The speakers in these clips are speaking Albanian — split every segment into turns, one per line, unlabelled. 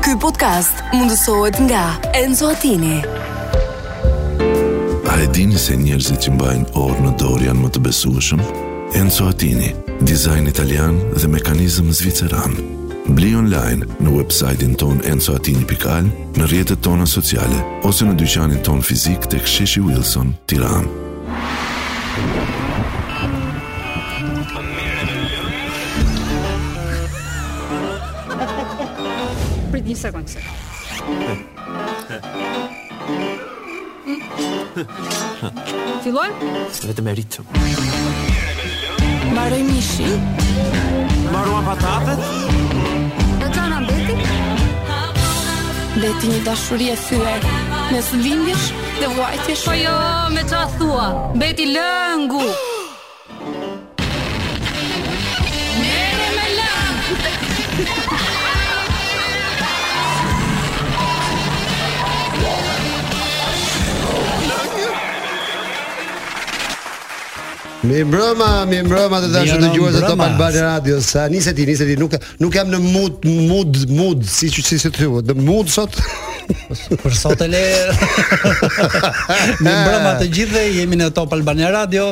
Ky podcast mundësohet nga Enzo Attini.
A e dini se njerëzit që mbajnë orë në dorë janë më të besueshëm? Enzo Attini, dizajn italian dhe mekanizëm zviceran. Bli online në website-in ton enzoatini.al, në rjetët tona sociale, ose në dyqanin ton fizik të ksheshi Wilson, tiran.
Prit një sekundë se. Filloj?
Vetëm e ritëm.
Po
Mbaroj mishi.
Marua patatet?
Në qana mbeti?
Beti një dashuri e thyer mes lindjesh dhe vuajtjesh.
Po jo, me qa thua? Beti lëngu! Mere me lëngu!
Mi mbrëma, mi mbrëma të dashur
Mirë
dëgjues të Top
mbrëma.
Albania Radio. Sa niset ti, niset ti, nuk nuk jam në mood mood mood si që- si si ti thua, në mood sot.
Për sot e le Mi mbrëma të gjithëve Jemi në Top Albania Radio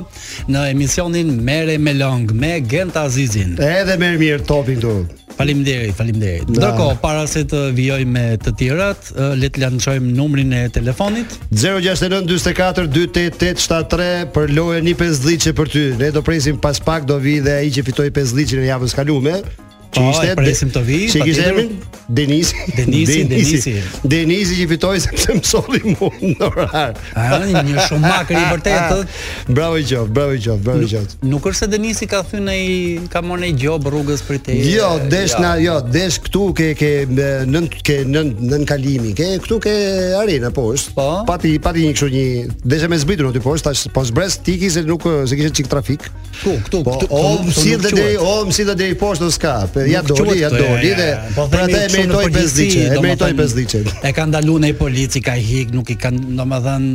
Në emisionin Mere me Long Me Genta Azizin
Edhe merr mirë topin këtu.
Faleminderit, faleminderit.
Da.
Ndërkohë, para se të vijoj me të tjerat, ë, le të lançojmë numrin e telefonit.
069 44 288 73 për lojën i 5 dhliçe për ty. Ne do presim pas pak do vi dhe ai që fitoi 5 dhliçin e javës kaluar. Që
Po,
ishte
e presim të vi,
Që kishte
patjetër.
emrin Denisi.
Denisi, Denisi.
Denisi që fitoi sepse mësolli mua në orar.
Ah, një shumakër i vërtetë.
Ah. Bravo i qof, bravo i qof, bravo i qof.
Nuk është se Denisi ka thënë ai ka marrë një gjob rrugës për te.
Jo, desh na, jo, desh këtu ke ke e, nën ke nën nën kalimi. Ke këtu ke arena poshtë.
Po.
Pati pati një kështu një deshe me zbritur aty poshtë, tash po zbres tiki se nuk e, se kishte çik trafik.
Ku, këtu,
Po,
këtu.
o
këtu nuk
si dhe
quhet.
deri, o si dhe deri poshtë do s'ka. Pe, Ja
Nuk
doli,
quhet
ja
këtu,
doli
e,
dhe
po
për
themi
atë e
kështu në
meritoi
përgjithësi,
5 ditë, e
domethënë,
meritoi 5 ditë.
E ka ndaluar në polici, ka hik, nuk i kanë domethënë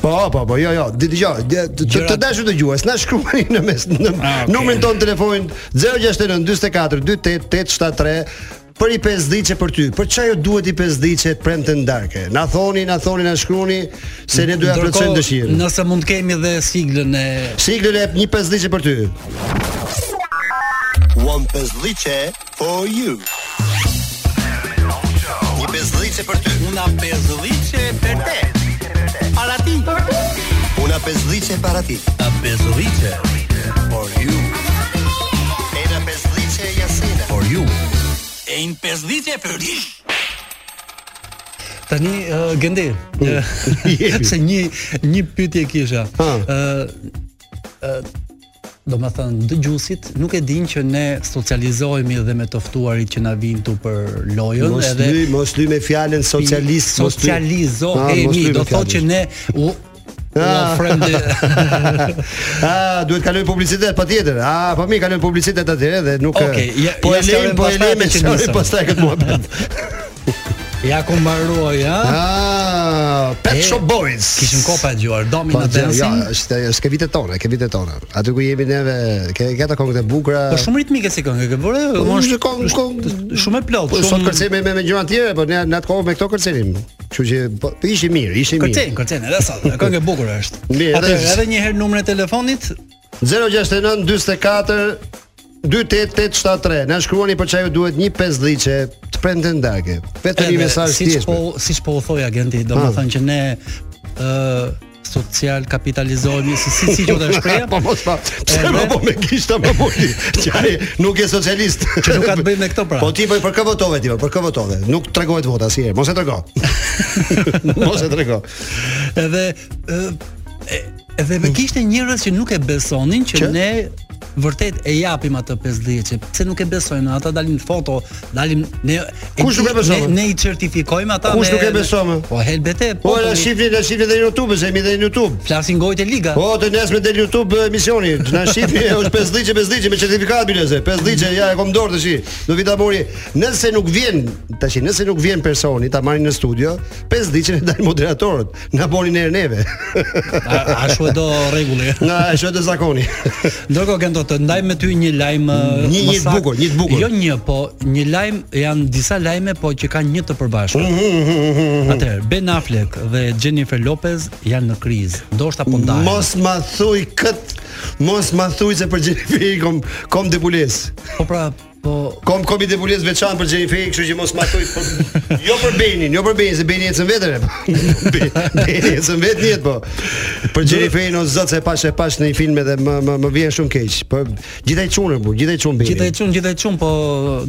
Po, po, po, jo, jo. Di dëgjoj, di- të- të, të
Gjërat-
dashur dëgjues, na shkruani në mes në
Ah, okay.
numrin tonë telefonin 069 44 28 873 për i 5 ditë për ty. Për çfarë ju duhet i 5 ditë premte darke? Na thoni, na thoni, na shkruani se ne do ja plotësojmë
Ndërkohë,
dëshirën.
Nëse mund kemi dhe siglën e
Siglën e një 5 ditë për ty.
One pesdhice for you. Një pesdhice për ty.
Una bezlliçe per te. Para ti.
Una pesdhice para ti.
A bezlliçe
For you. Ena pesdhice Jasina.
for you.
E in pesdhice për ti.
Tani uh, Gendi,
Mm.
uh,
Jepi.
se një një pyetje kisha.
Ha.
Ë ë do më thënë, dëgjusit nuk e din që ne socializohemi dhe me të ftuarit që na vinë tu për lojën
Mos
Jo, edhe
ly, mos ly me fjalën socialist, mos ly. Ah, mos ly
socializohemi,
me
do
fjalën.
thotë që ne u u
Ah.
ofrojmë dhe
Ah, duhet kalojmë publicitet patjetër. Ah, po mirë, kalojmë publicitet atëherë dhe nuk
Okej, ja-
po
ja
e lejmë,
sqarojmë
po e
pastaj
lejmë,
atë që
sqarojmë
nisëm.
pastaj këtë muhabet.
ja ku mbaruaj, ha?
Ah, Pet
E,
Shop Boys.
Kishim kopa e gjuar,
Po,
Domino
ja, ja,
Dancing.
është është ke vitet tona, ke vitet tona. Aty ku jemi neve, ke ke ato këngët e bukura.
Po shumë ritmike si këngë ke bërë,
Po,
mos
është këngë- këngë-
shumë e plotë,
Po
shumë
sot kërcejmë me me gjëra të tjera, po ne në atë kohë me këto kërcenim. Kështu që po po, ishi mirë, ishi mirë.
Kërcen, kërcen, edhe sot, këngë e bukur është.
Mirë,
Atë
edhe-
edhe një herë numrin e telefonit,
069 44 28873. Na shkruani për çfarë ju duhet një 5 dhicë të premte ndarke. Vetëm një
edhe
mesazh Ah.
siç
thjesht.
po siç po u thoi agenti, domethënë që ne ë social kapitalizohemi si si si quhet ajo shpreha?
po mos pa. Pse
Edhe-
më po me gishta më boli? Qaj nuk je socialist.
Që nuk ka të bëjë me këto pra.
Po ti po për kë votove ti, po, për kë votove? Nuk tregohet vota asnjëherë, mos e trego. mos e trego. Po,
Edhe ë, e- edhe me kishte njerëz që nuk e besonin që,
Mm. Që?
ne vërtet e japim atë 50 që pse nuk e besojnë ata dalin foto dalin ne e
Kush nuk e
di-
beson,
ne,
më?
ne i certifikojmë ata
Kush
me-
nuk e beson, më?
po helbete
Po na
populli-
shifni, na shifni dhe në YouTube, se mi dhe në YouTube.
flasin gojët e liga
Po të nesër del YouTube e, emisioni. Na shihni është 5 ditë, 5 ditë me certifikat bileze. 5 ditë ja e kom dorë tash. Do vi ta mori. Nëse nuk vjen tash, nëse nuk vjen personi ta marrin në studio, 5 ditën e dalin moderatorët. Na bonin erë neve.
a, a shu e do rregulli
Nga e shoqë zakoni.
ndërkohë këndo të ndaj me ty një lajm ë,
Një- një
më
të
sakt.
bukur, një të bukur.
Jo një, po një lajm janë disa lajme po që kanë një të përbashkët. Atëherë Ben Affleck dhe Jennifer Lopez janë në krizë, ndoshta po ndahen.
Mos ma thuj kët, mos ma thuj se për Jennifer kom kom depules.
Po pra, po
Kom kom i depules veçan për Jennifer, kështu që mos ma thuj për, jo për Benin, jo për Benin, se Beni ecën vetën. e, po. Be- Beni ecën vetë njët po. Për Jennifer o zot se e pash e pash në një film edhe më më, më vjen shumë keq. Po gjithaj çunën po, gjithaj çun Beni.
Gjithaj çun, gjithaj çun, po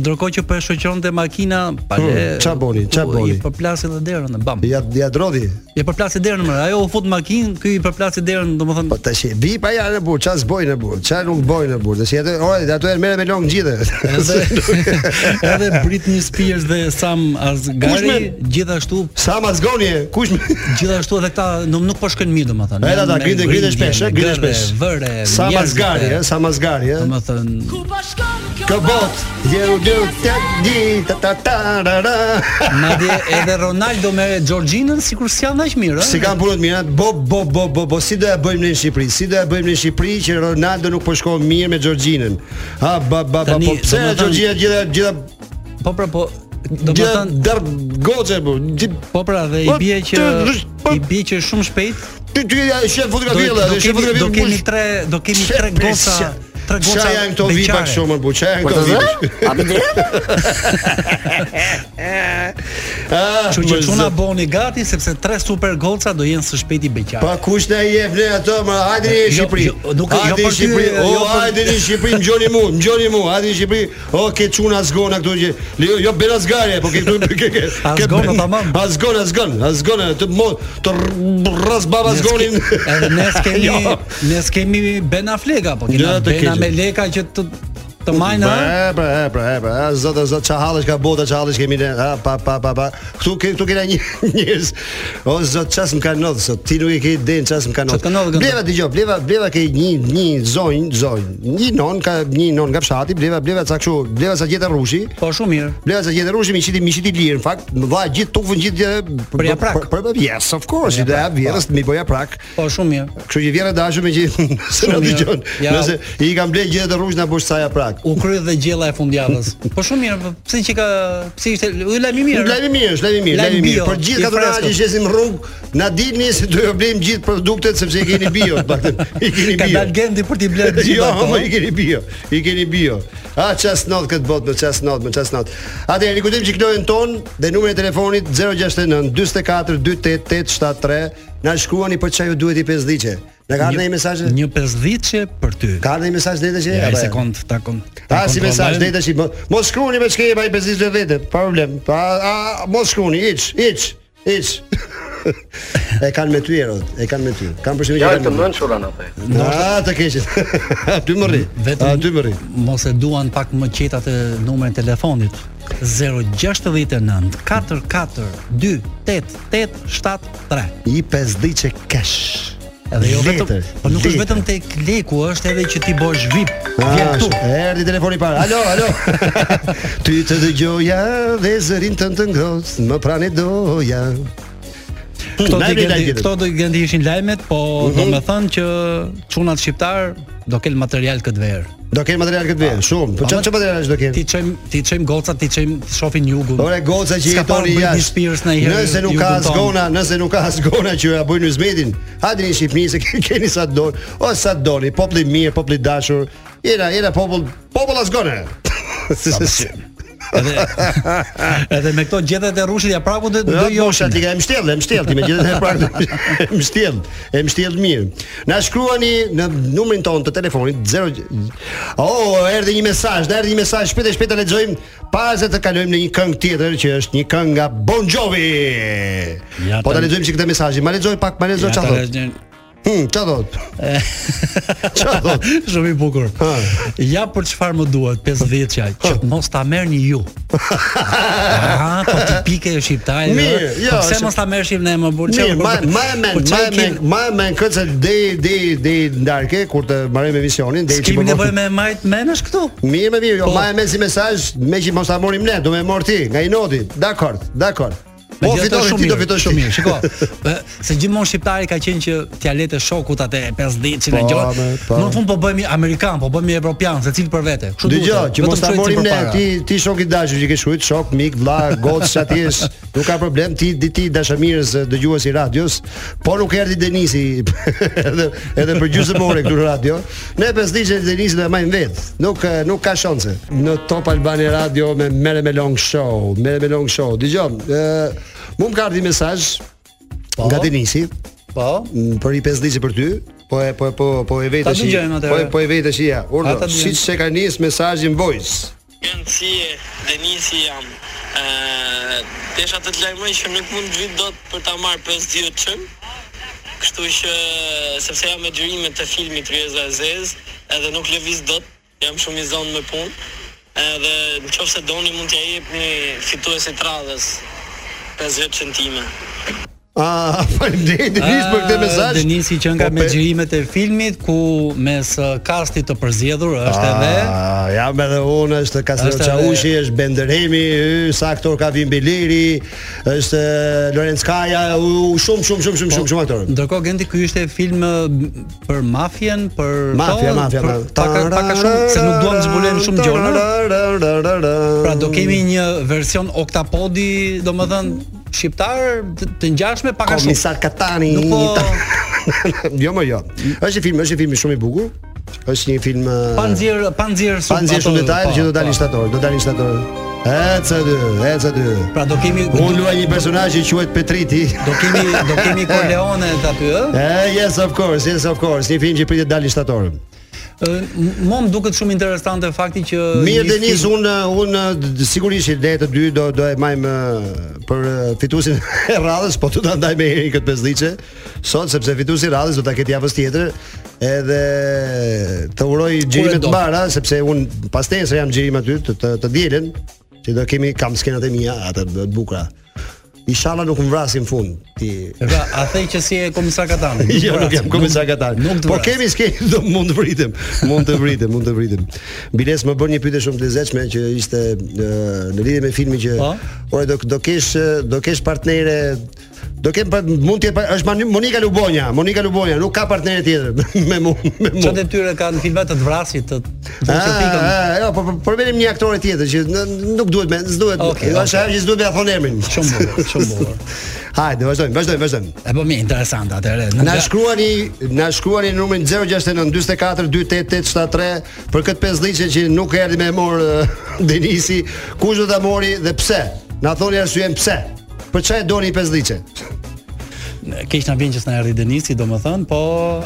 ndërkohë që po e shoqëronte makina, pa
Hmm,
le.
qa boni, qa
u-
boni?
I përplasi edhe derën, bam.
Ja ja drodhi.
I përplasi derën, mëre, ajo u fut në makinë, ky i përplasi derën, domethënë
Po tash e vi pa ja në burr, çfarë s'bojnë në burr, çfarë nuk bojnë në burr. Tash ato ora ato janë merre me long gjithë.
Edhe edhe Britney Spears dhe Sam
Kush
Asghari
me-
gjithashtu
Sa ma zgoni e, kush më
gjithashtu edhe këta nuk, nuk po shkojnë mirë domethënë.
Edhe ata
Me
grite grite shpesh, e,
me
grite
gërre,
shpesh.
Vëre.
Sa ma zgari, e, sa ma zgari, e.
Domethënë
Kë bot, jeru du tek di ta ta ta ra ra.
madje edhe Ronaldo me Georginën sikur s'janë aq mirë, eh. ë.
Si kanë punët mira, bo bo bo bo bo si do ja bëjmë ne në Shqipëri? Si do ja bëjmë ne në Shqipëri që Ronaldo nuk po shkon mirë me Georginën? Ha ba ba ba
Tani,
po pse
domethënë-
Georgina gjitha gjitha
Po pra po
gjitha
domethënë
dar goxhe po. gjith-
Po pra dhe i
Po,
bie që
të- të- po-
i bie që shumë shpejt
Ti ti ja shef
do,
fotografia,
do,
e shef
kemi,
fotografia.
do kemi
mbush-
tre do kemi tre
Shef,
goca
shef.
tre goca.
Qa janë këto vipa
beqare.
shumë po, qa janë këto vipa? Ah,
Kështu që
më
çuna
zot.
boni gati sepse tre super goca do jenë së shpejti beqar.
Pa kush na i jep ne ato, më hajde në
Jo,
Shqipëri.
jo, nuk- jo
Hajde
për
në Shqipëri.
ty,
O,
jo për-
hajde në Shqipëri, mgjoni mua, mgjoni mua, hajde në Shqipëri. O, ke çuna zgona këtu që. Jo, jo bela zgare, po ke këtu ke ke.
A
ke-
zgona, tamam.
A zgona, a zgon, a zgon, të mo, të rras baba
Ne
zgonin.
s'ke- Edhe ne kemi ne kemi Ben Affleck apo
Jo,
kemi
të
Ben
keqe.
Ameleka që të të majnë ha?
E, pra, e, pra, e, pra, e, zot, e, zot, çahallësh ka bota, çahallësh kemi ne, a, pa, pa, pa, pa. Ktu ke, këtu kena një njerëz. O zot, ças më kanë ndodhur sot. Ti nuk e ke idenë ças më kanë
Çfarë ka ndodhur,
ndodhur.
Gëndo?
Bleva dëgjoj, bleva, bleva ke një një zonjë, zonjë. Një non ka një non nga fshati, bleva, bleva ca kështu, bleva sa gjetë rrushi.
Po shumë mirë.
Bleva sa gjetë rrushi, mi shiti, mi shiti lirë, në fakt, më dha gjithë tufën gjithë
Për japrak.
Për, për, yes, of course, i do ja vjerës, mi boja prak.
Po shumë mirë.
Kështu që vjerë e dashur me që se na
Shumë mirë.
dëgjon.
Ja.
Nëse i kam bler gjithë të rrush na bosh sa ja prak.
U kry dhe gjella e fundjavës. Po shumë mirë, po pse që ka pse ishte u lajmi mirë.
Lajmi mirë, është lajmi mirë,
Lajm
lajmi mirë.
bio,
Për
i
gjithë katorana
freskët.
që shesim rrugë, na dilni se do ju blejmë gjithë produktet sepse i keni bio, të paktën. I keni
Ka
bio.
dalë gendi për t'i bler gjithë
Jo,
ato.
po i keni bio. I keni bio. A çast not këtë botë, më çast not, më çast not. Atëherë rikujtojmë çiklojen ton dhe numrin e telefonit 069 44 28 873. Na shkruani për çfarë ju duhet i pesdhiçe. Na ka ardhur një mesazh?
Një 50 që për ty.
Ka ardhur një mesazh deri tash? apo
Ja,
jo?
një
e?
sekond ta kon.
Ta si mesazh deri tash. mo- Mos shkruani me çka i pesdhiçet e vetë, pa problem. Pa a, mos shkruani, hiç, hiç, hiç. e kanë me ty erot, e kanë me ty. Kan përshtymin që kanë. me ty. Ah, të keqet. Ty më rri.
Vetëm
Ah, ty më rri.
Mos e duan pak më qetë atë numrin e telefonit. 069 44 288 73.
I pesdhiçe kesh.
Edhe jo vetëm,
Letër,
po nuk është
letër.
vetëm tek leku, është edhe që ti bësh VIP. Vjen
Ah,
këtu.
Erdi telefoni para. Alo, alo. Ty të dëgjoja dhe zërin tënd të ngrohtë më pranë doja.
Këto
Na e
do
vjen
gjendë,
lajmet.
këto do gjendë ishin lajmet, po
Mhm.
do me thënë që çunat shqiptar do kel material këtë verë.
Do kem material këtë vjen, shumë. Po
Pa,
çfarë
ma-
çfarë materialesh do kem?
Ah. Ti çojm ti çojm gocat, ti çojm shohin jugun.
Ore goca që
S'ka parë
jetoni
Britney
jashtë.
Spears ndonjëherë
Nëse nuk
jugun
ka
tonë.
zgona, nëse nuk ka zgona që ja bëjnë Uzmetin, hajde në Shqipëri se ke- keni sa doni, o sa doni, populli i mirë, populli i dashur. Jena, jena popull, popull asgone.
Edhe edhe me këto gjethet e rrushit ja praku do do
Do jo
joshin.
shati ka e mshtjell, e mshtjell, ti me gjithë e prakë. E mshtjell, e mshtjell mirë. Na shkruani në numrin ton të telefonit 0 Oh, erdhi një mesazh, na erdhi një mesazh, shpejt e shpejt ta lexojmë para se të kalojmë në një këngë tjetër që është një këngë nga Bon Jovi.
Ja,
po ta
ta-
lexojmë që këtë mesazh. Ma lexoj pak, ma lexoj çfarë thotë. Hm, çfarë thotë? Çfarë thotë?
Shumë i bukur.
Ha.
Ja për çfarë më duhet 50-ja, që mos ta merrni ju. Ah, po ti pike e shqiptare.
Mirë,
ëh?
jo,
Po pse
është-
mos ta merrshim ne më burr? po
Mirë, ma ma men, ma men, ma men këtë se deri deri deri ndarke kur të marrim emisionin, deri
Kemi
po-
nevojë me majt menash këtu.
Mirë më mirë, jo,
Po.
ma e merr si mesazh, me që mos ta morim ne, do më mor ti, nga i noti. Dakor, dakor.
Me
Po,
gjithë ato
fitove,
shumë
ti do
mirë,
fitosh
shumë
ti.
mirë. Shiko, ë, se gjithmonë shqiptari ka qenë që t'ia letë shokut atë 50
Po,
e gjë.
me, po.
Në fund po bëhemi amerikan, po bëhemi evropian, secili për vete. Kështu
Dëgjoj,
duhet,
që
vetëm
mos ta
shojnë
morim
si
ne,
përpara.
ti ti shok i dashur që ke shkruajt, shok, mik, vlla, gocë, çatjes, nuk ka problem ti di ti dashamirës eh, dëgjues i radios, po nuk erdhi Denisi edhe edhe për gjysmë ore këtu në radio. Ne pesdiçe Denisin e majm vet. Nuk eh, nuk ka shanse. Në Top Albani Radio me merre me long show, merre me long show. Dëgjoj, ë mu më ka ardhi mesazh nga Denisi
Po.
m, për i pesdiçe për ty. Po e po e- po po e
Ta
vetë shi.
dëgjojmë atëherë.
Po e po e vetë shi ja.
A, ta
Urdhë,
dëgjojmë.
siç se ka nis mesazhin voice.
Janë si e Denisi jam. Ë, desha të të lajmëroj që nuk mund të vi dot për ta marrë 5 ditë çm. Kështu që sepse jam me gjyrime të filmit Reza Azez, edhe nuk lëviz dot, jam shumë i zonë me punë. Edhe në qofë se doni mund t'ja jepni fituesit radhës 50 centime.
Ah, faleminderit Denis për këtë
Ë,
mesazh.
Ah, Denisi që nga
Po,
me
pe-
xhirimet e filmit ku mes ë, kastit të përzgjedhur është edhe
Ah, jam edhe unë, është Kasero
Është edhe-
Çaushi, është Benderhemi, ë, sa aktor ka Vim Beleri, është ë, Lorenz Kaja, u u, shumë shumë shumë shumë shumë shumë aktor.
Ndërkohë Genti ky ishte film ë, për mafien, për
Mafia,
po,
mafia,
për-
mafia.
Pak pak a shumë se nuk duam të zbulojmë shumë gjona. Pra do kemi një version oktapodi, domethënë shqiptar të- të ngjashme pak a shumë.
Komisar Katani.
Nuk po
jo më jo. Është një film, është një film shumë i bukur. Është një film ë,
pa nxjerr pa nxjerr
pa nxjerr shumë
ato-
detaje
po,
që do dalin
po.
shtator, do dalin shtator. Ecd, ecd.
Pra do kemi
Unë luaj një personazh që quhet Petriti.
do kemi do kemi Corleone aty ë?
Eh, yes of course, yes of course. Një film që pritet dalin shtator.
Ë, m- Mo më duket shumë interesante fakti që
Mirë
një
Denis,
film-
unë unë d- sigurisht që ne të dy do do e majmë eh, për eh, fituesin e radhës, po do ta ndajmë herë këtë pesdhiçe sot sepse fituesi i radhës do ta ketë javës tjetër edhe të uroj
Kur e
xhirime
do.
të mbara sepse unë pas nesër jam xhirim aty të të, të dielën që do kemi kam skenat e mia atë të bukura. Inshallah nuk më vrasin në fund. Ti
Pra, a thej që si e komisar Katani. Nuk
Jo, nuk
vrasim,
jam komisar katar.
Nuk të
Po
vrasim.
kemi ske, do mund të vritem, mund të vritem, mund të vritem. Biles më bën një pyetje shumë të lezetshme që ishte ë, në lidhje me filmin që
Po?
ore do do kesh ë, do kesh partnere Do kem pa, mund të është Mani- Monika Lubonja, Monika Lubonja nuk ka partnere tjetër me mu, me mu.
Çfarë detyre kanë filmat të të vrasit të të
Ah,
që pikën.
ah, jo, po po- përmendim një aktore tjetër që n- nuk duhet me, s'duhet.
Okej,
Okay, është
okej.
ajo që s'duhet me ia thon emrin.
Shumë bukur, shumë bukur.
Hajde, vazhdojmë, vazhdojmë, vazhdojmë.
E po mirë, interesant atëherë. Nuk
ah. Na
ka-
shkruani, na shkruani në numrin 069 44 28873 për këtë pesdhiçe që nuk erdhi me mor eh, Denisi, kush do ta mori dhe pse? Na thoni arsyen pse? Për çfarë e doni pesdhiçe?
keq na vjen që s'na erdhi Denisi, domethënë, po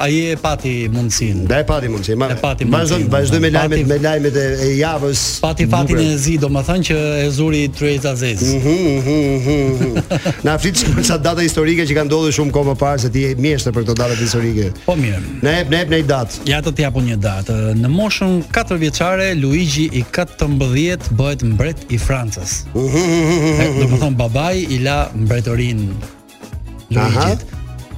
ai e pati mundësinë.
Da e pati mundsi. Ma
E pati mundsi,
vazhdojmë vazhdojmë me
pati-
lajmet me lajmet e, e javës.
Pati fatin
Bukur.
e zi, domethënë që e zuri Treza Zez.
Mhm, mhm, mhm. Na flit për çfarë data historike që ka ndodhur shumë kohë më parë se ti je mjeshtër për këto datat historike.
Po mirë.
Ne jep, ne jep në një datë.
Ja të t'japu një datë. Në moshën 4 vjeçare Luigi i 14 bëhet mbret i Francës. E, Do të thonë babai i la mbretërinë Luigit.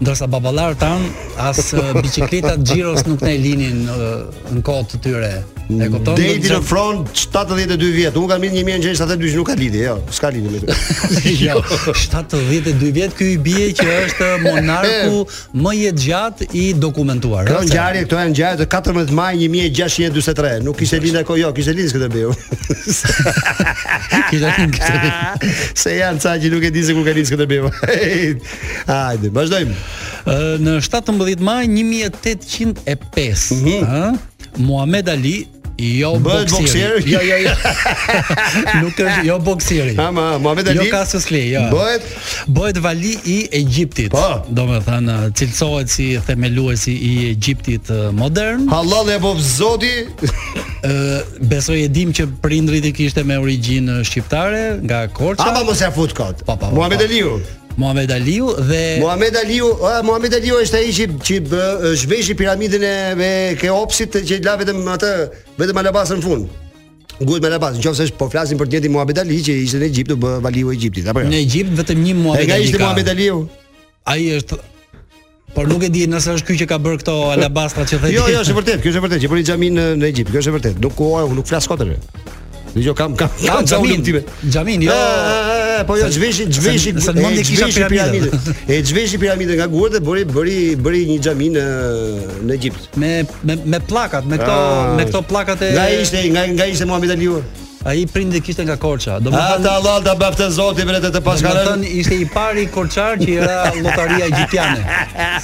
Ndërsa baballarët tan as e, bicikletat Giros nuk ne linin e, në kohë të tyre. E kupton?
Dejti në front 72 vjet. Unë kam mirë 1972 që nuk ka lidhje, jo, s'ka lidhje me këtë.
Jo, 72 vjet ky i bie që është monarku më i gjatë i dokumentuar.
Këto
ëh, se-
ngjarje, këto janë ngjarje të 14 maj 1643. Nuk kishte lindë kohë, jo, kishte lindë këtë beu.
Kishte lindë këtë
se janë ca që nuk e di se kur ka lindë këtë beu. Hajde, vazhdojmë.
Ë, në 17 maj 1805, ëh, Muhammed Ali jo
Mhm. Bëhet boksier.
boksieri.
Jo, jo, jo.
Nuk është jo boksieri.
Ama Muhammed Ali.
Jo Cassius Clay, jo.
Bëhet
Bëhet vali i Egjiptit.
Po.
Domethënë cilësohet si themeluesi i Egjiptit ë, modern.
Halal e bov zoti
Ë besoj e dim që prindrit i kishte me origjinë shqiptare nga Korça.
Ama mos ja fut kot
Po, po, po,
Muhammed
po.
Aliu
Muhammed Aliu dhe
Muhammed Aliu a, Muhammed Aliu është ai që që bë- zhveshi piramidën e e Keopsit që i la vetëm atë vetëm alabasën në fund Guhet me alabas, nëse është po flasim për djetin Muhammed Ali që ishte në Egjipt, u bë valiu i Egjiptit, apo jo?
në Egjipt vetëm një
E
Muhammed
nga
Ali.
ishte
ka.
Muhammed Aliu.
Ai është Por nuk e di nëse është ky që ka bërë këto alabastra që thënë.
Jo, jo, është e vërtet, kjo është e vërtet, që bëri xhamin në, në Egjipt, kjo është e vërtet. Nuk ku, nuk flas kotër. Dgjoj, kam kam
Ja,
kam xhamin
xhamin, xhamin,
E,
jo.
e, e, po jo zhveshi zhveshi
se në mendje
e
kisha
zhveshi
piramidën.
piramidën. E zhveshi piramidën nga gurët dhe bëri bëri bëri një xhami në në Egjipt.
me me me plakat, me këto
Ah,
me këto plakat e
Nga ishte nga nga ishte Muhamedi Aliu.
ai prindi kishte nga Korça. Domethënë
Ata Allah ta bëftë Zoti për të të
Domethënë
pashkarën.
ishte i pari korçar që era lotaria egjiptiane.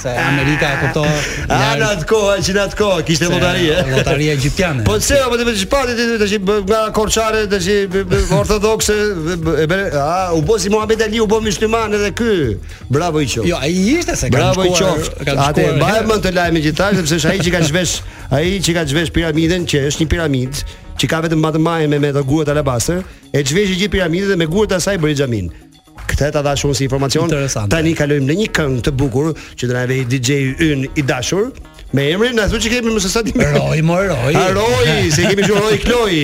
Se Amerika e kupto.
A në atë kohë, që në atë kohë kishte lotari, e?
Lotaria egjiptiane.
Po pse apo të vetë shpati ti tash i bë- nga korçare tash i bë- bë- ortodokse bë- bë- e bëre a u bë si Muhamedi Ali u bë mysliman edhe ky. Bravo i qoftë.
Jo, ai ishte se kanë
Bravo i
shkuar-
qoftë.
kanë
Atë
shkuar-
mbaj mend të lajmin që tash sepse është ai që ka zhvesh, ai që ka zhvesh piramidën që është një piramidë që ka vetëm matëmaje me me të gurët alabastër, e zhveshi gjithë piramidën dhe me gurët e saj bëri xhamin. Këtë ta dash unë si informacion.
Interesante.
Tani kalojmë në një këngë të bukur që do na vë DJ yn i dashur me emrin, na thuaj që kemi më së sa dimë.
Roj, mo roj.
A Roi, se kemi shumë Roi Kloi.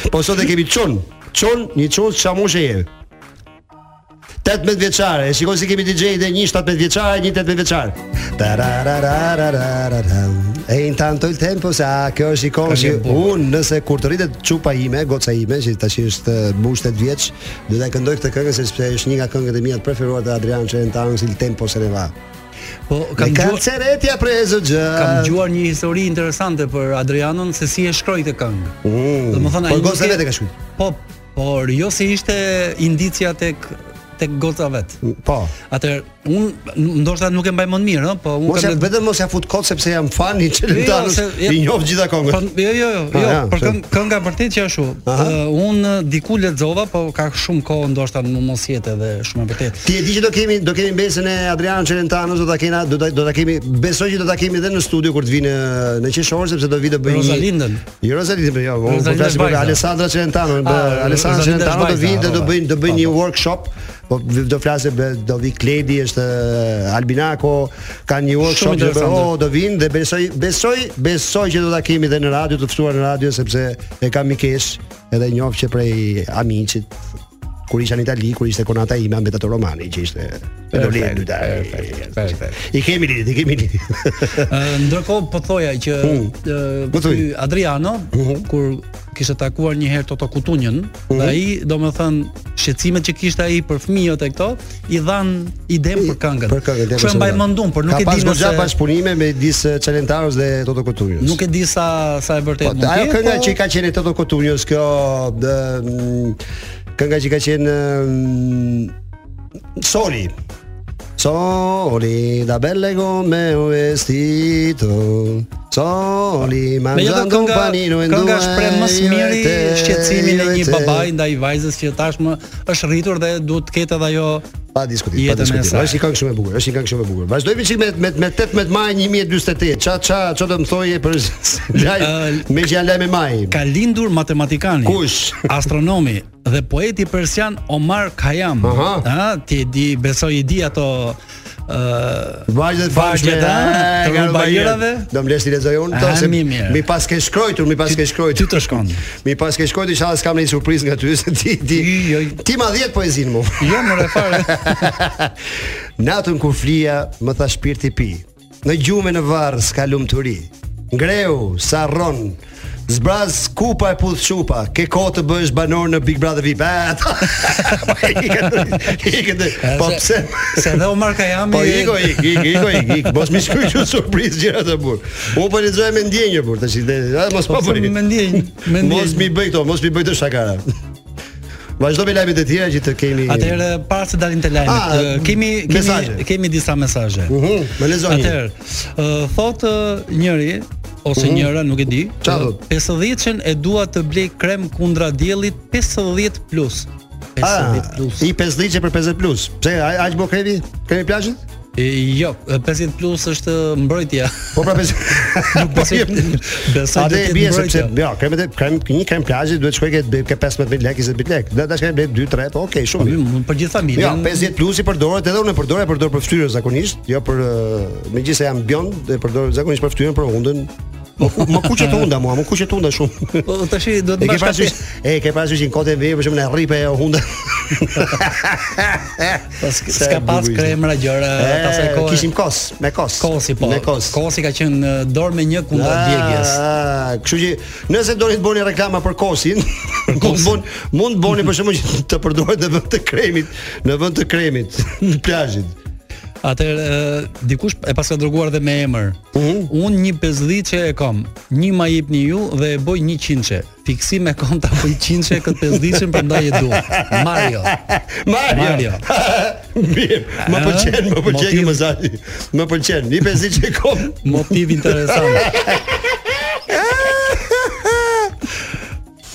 po sot e kemi Çon. Çon, një Çon çamoshe je. 18 vjeçare, e shikoj se kemi DJ dhe një 17 vjeçare, një 18 vjeçare. Tarararararararam. E intanto il tempo sa kjo është i
Ka
konshi.
qenë bukur.
Unë nëse kur të rritet çupa ime, goca ime që tash është e, mbush 8 vjeç, do ta këndoj këtë këngë sepse është një nga këngët e mia të preferuara të Adrian Celentanos il tempo se ne va.
Po
Kam
kam dëgjuar
canceretia preso già.
kam dëgjuar një histori interesante për Adrianun se si e shkroi këtë këngë.
Mm.
Domethënë
Po
ai nuk
goca
e-
vetë ka shkruajtur.
Po, por jo se ishte indicia tek tek goca vet.
Po.
Atëherë, un ndoshta nuk e mbaj mend mirë, ëh, po un
Mos ja
kam
vetëm mos ja fut kot sepse jam fan i Çelentanës.
Jo, jo, se-
I njoh gjitha
Po,
këngët.
jo, jo, jo,
Ah,
jo
ja,
për
se-
këng, kënga vërtet që ashtu.
Aha.
Uh, un eh, diku lexova, po ka shumë kohë ndoshta më mos jetë edhe shumë e vërtet.
Ti e di që do kemi do kemi besën e Adrian Çelentanës do ta kena do ta do ta kemi besoj që do ta kemi edhe në studio kur të vinë në- në qershor sepse do vi të bëjmë
Rosalindën.
Jo Rosalindën, po jo, unë po
Rosalinda
flasim për
Shvajza.
Alessandra Çelentano,
Ah,
Alessandra
Rosalinda
Çelentano do
Shvajza,
vinë dhe do
po,
bëjnë do bëjnë
po,
një
po.
workshop Po do flasë do vi Kledi është eh, Albinako kanë një workshop që do bëjnë,
interesante.
oh, do vinë dhe besoj besoj besoj që do ta kemi edhe në radio të ftuar në radio sepse e kam mikesh edhe njoh që prej amiqit kur isha në Itali, kur ishte konata ime Ambetato Romani që ishte me dolin
perfekt, perfekt.
I kemi lidhje, i kemi lidhje.
Ë, Ndërkohë po thoja që ë,
Po thuj. Hm.
ky Adriano kur kishte takuar një herë Toto Kutunjën, dhe ai domethën shqetësimet që kishte ai për fëmijët e këto i dhan idem për këngën.
Për këngën.
Kështu e mbaj mendun, por nuk e di
Ka pas
nëse
goxha bashkëpunime me dis Çelentaros dhe Toto Kuturios.
nuk e di sa sa e vërtet
Po,
mund të
ajo
jetë,
kënga
po-
që i ka qenë Toto Kutunios, kjo dë, mm, kënga që i ka qenë mm, Soli. Soli da belle come un vestito Soli
Me jetë
mangiando un
kënga,
panino in due
kënga shpreh më së miri
io e te,
shqetësimin e
io e
një
te.
babai ndaj vajzës që tashmë është rritur dhe duhet të ketë edhe ajo
Pa diskutim, pa
Jetën e
diskutim.
saj.
Është një këngë shumë e bukur, është një këngë shumë e bukur. Vazhdojmë çik me me me 18 maj 1048. Ça ça ço do të thoje për lajm
Ë,
me që janë lajme maj.
ka lindur matematikani,
Kush?
astronomi dhe poeti persian Omar Khayyam.
Aha.
Ëh, ti e di, besoj i di ato ë
Vajzat
Vajzat,
famshme,
a?
e,
Të
nga
rubajirave?
Do më lesh ti lexoj unë to
A,
se
mi mirë.
mi pas ke shkruajtur, mi pas ke
ty
shkruajtur.
të shkon.
Mi pas ke shkruajtur, inshallah s'kam ndonjë surprizë nga ty se ti ti.
I, jo, i-
Ti ma 10 poezinë mu.
Jo, më refare.
Natën kur flia, më tha shpirti pi. Në gjume në varr s'ka lumturi. Ngreu, sa rron. Zbraz kupa e puth qupa Ke kohë të bësh banor në Big Brother VIP E, ta- Ikët Po pse
Se edhe Omar Khayyam
Po iko ik, ik, iko ik, ik Mos mi shkuj që surpriz gjera të bur Unë po lexoj me ndjenjë bur Të shite Mos po
Po
bëri
më ndjenj, më ndjenj.
Mos mi bëj këto, mos mi bëj të shakara Vazhdo me lajmet e tjera që të kemi
Atëherë para se dalim te lajmet,
Ah,
ë, kemi kemi
mesazhe.
kemi disa mesazhe.
Mhm, më lexo një.
Atëherë, ë, thot ë, njëri ose njëra, nuk e di.
Mhm. Qa
ë,
thot?
50-shën e dua të blej krem kundra diellit 50 plus. 50
Ah,
plus.
i 50 që për 50 plus. Pse a- aq bo kremi? Kremi plazhit?
E, jo, ë, 50 plus është mbrojtja.
Po pra 50.
Nuk besoj. Besoj
Atë
të
e
jetë
bie sepse
mbrojtja.
jo, kremet e krem një krem plazhi duhet shkoj ke ke 15 lek, 20 lek. Do dash krem 2 3, po okay, shumë.
Po,
mirë.
mi- Për gjithë
Jo,
familjen.
50 plus i përdoret edhe unë e përdor, e përdor për fytyrë zakonisht, jo për ë, megjithëse jam bjond, e përdor zakonisht për fytyrën, për hundën. Më, ku- më kuqet hunda mua, më kuqet hunda shumë.
Po tash do të
E ke
bash kafe.
parasysh, e ke parasysh që në kohën e vjetër për shembull e rripe e hunda.
Po s-
Se
s'ka pas
bukur ishte.
kremra gjëra
E,
të asaj kohe.
Kishim kos, me kos.
kosi po.
Me kos.
Kosi ka qenë në dorë me një kundra
Ah,
djegjes.
Kështu që nëse doni të bëni reklama për kosin, mund
kosin.
bon, mund bëni për shembull që të përdoret në vend të kremit, në vend të kremit në plazhit.
Atëherë ë, dikush e pas ka dërguar dhe me emër.
Mhm.
Unë një 50 që e kam. Një ma jepni ju dhe e boj 100 që. Fiksim e kam ta bëj 100 që këtë 50 që prandaj e dua. Mario.
Mario.
Mario.
Mirë, më
Ah,
pëlqen, më pëlqen
motiv.
kjo mesazhi. Më pëlqen. Një pezi që e kom.
Motiv interesant.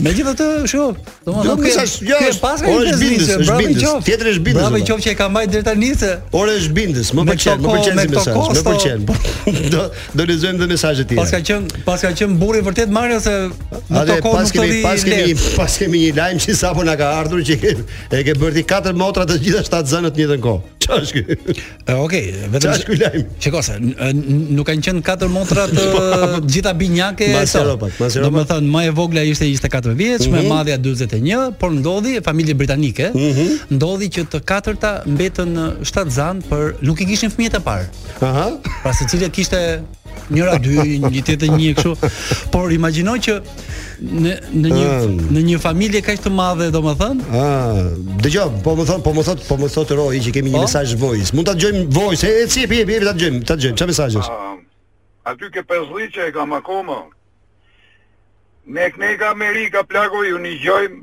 Megjithatë, shu, domethënë
Nuk
ky-
është- jo,
ky e
është-
pas ka
o,
një
është
pesdhice,
bindës, është
bravo i
bindës.
qoftë.
Tjetri është bindës, po.
Bravo i
domethënë.
qoftë që e ka mbajt deri tani se.
Ore është bindës, më
Me
pëlqen,
këto
më pëlqen
ko- me
si
këto
mesazh, më
kosto.
pëlqen. Do do lexojmë edhe mesazhet
Pas ka
tjera.
qen, pas ka qen burri vërtet Mario se në
Atë
të kohë
pas
nuk të
kemi
di.
pas kemi
lehtë.
pas kemi një lajm që sapo na ka ardhur që e ke bërti katër motra të gjitha shtatë zënë në të njëjtën kohë. Ç'është ky?
E, Okej, vetëm
Ç'është ky lajm?
Shiko se n- n- nuk kanë qenë katër motra të
Po,
gjitha binjake.
Mas
e to.
Europat, mas Europat. Mhm.
Domethënë më e vogla ishte 24 vjeç, më e madhja 41, por ndodhi familje britanike,
Mhm.
ndodhi që të katërta mbetën në shtat zan për nuk i kishin fëmijët e parë.
Aha.
Pra secila kishte njëra dy, një tjetër një kështu. Por imagjino që në në një
Ah.
në një familje kaq të madhe domethënë
Ah, dëgjoj, po më thon, po më thot, po më thot Roy që kemi një
Po?
mesazh voice. Mund ta dëgjojmë voice. E e, cip, jep, jep, ta dëgjojmë, ta dëgjojmë. Ç'a mesazh është?
Aty ke pesdhiqe e kam akoma. Ne kneka Amerika plako ju një gjojmë,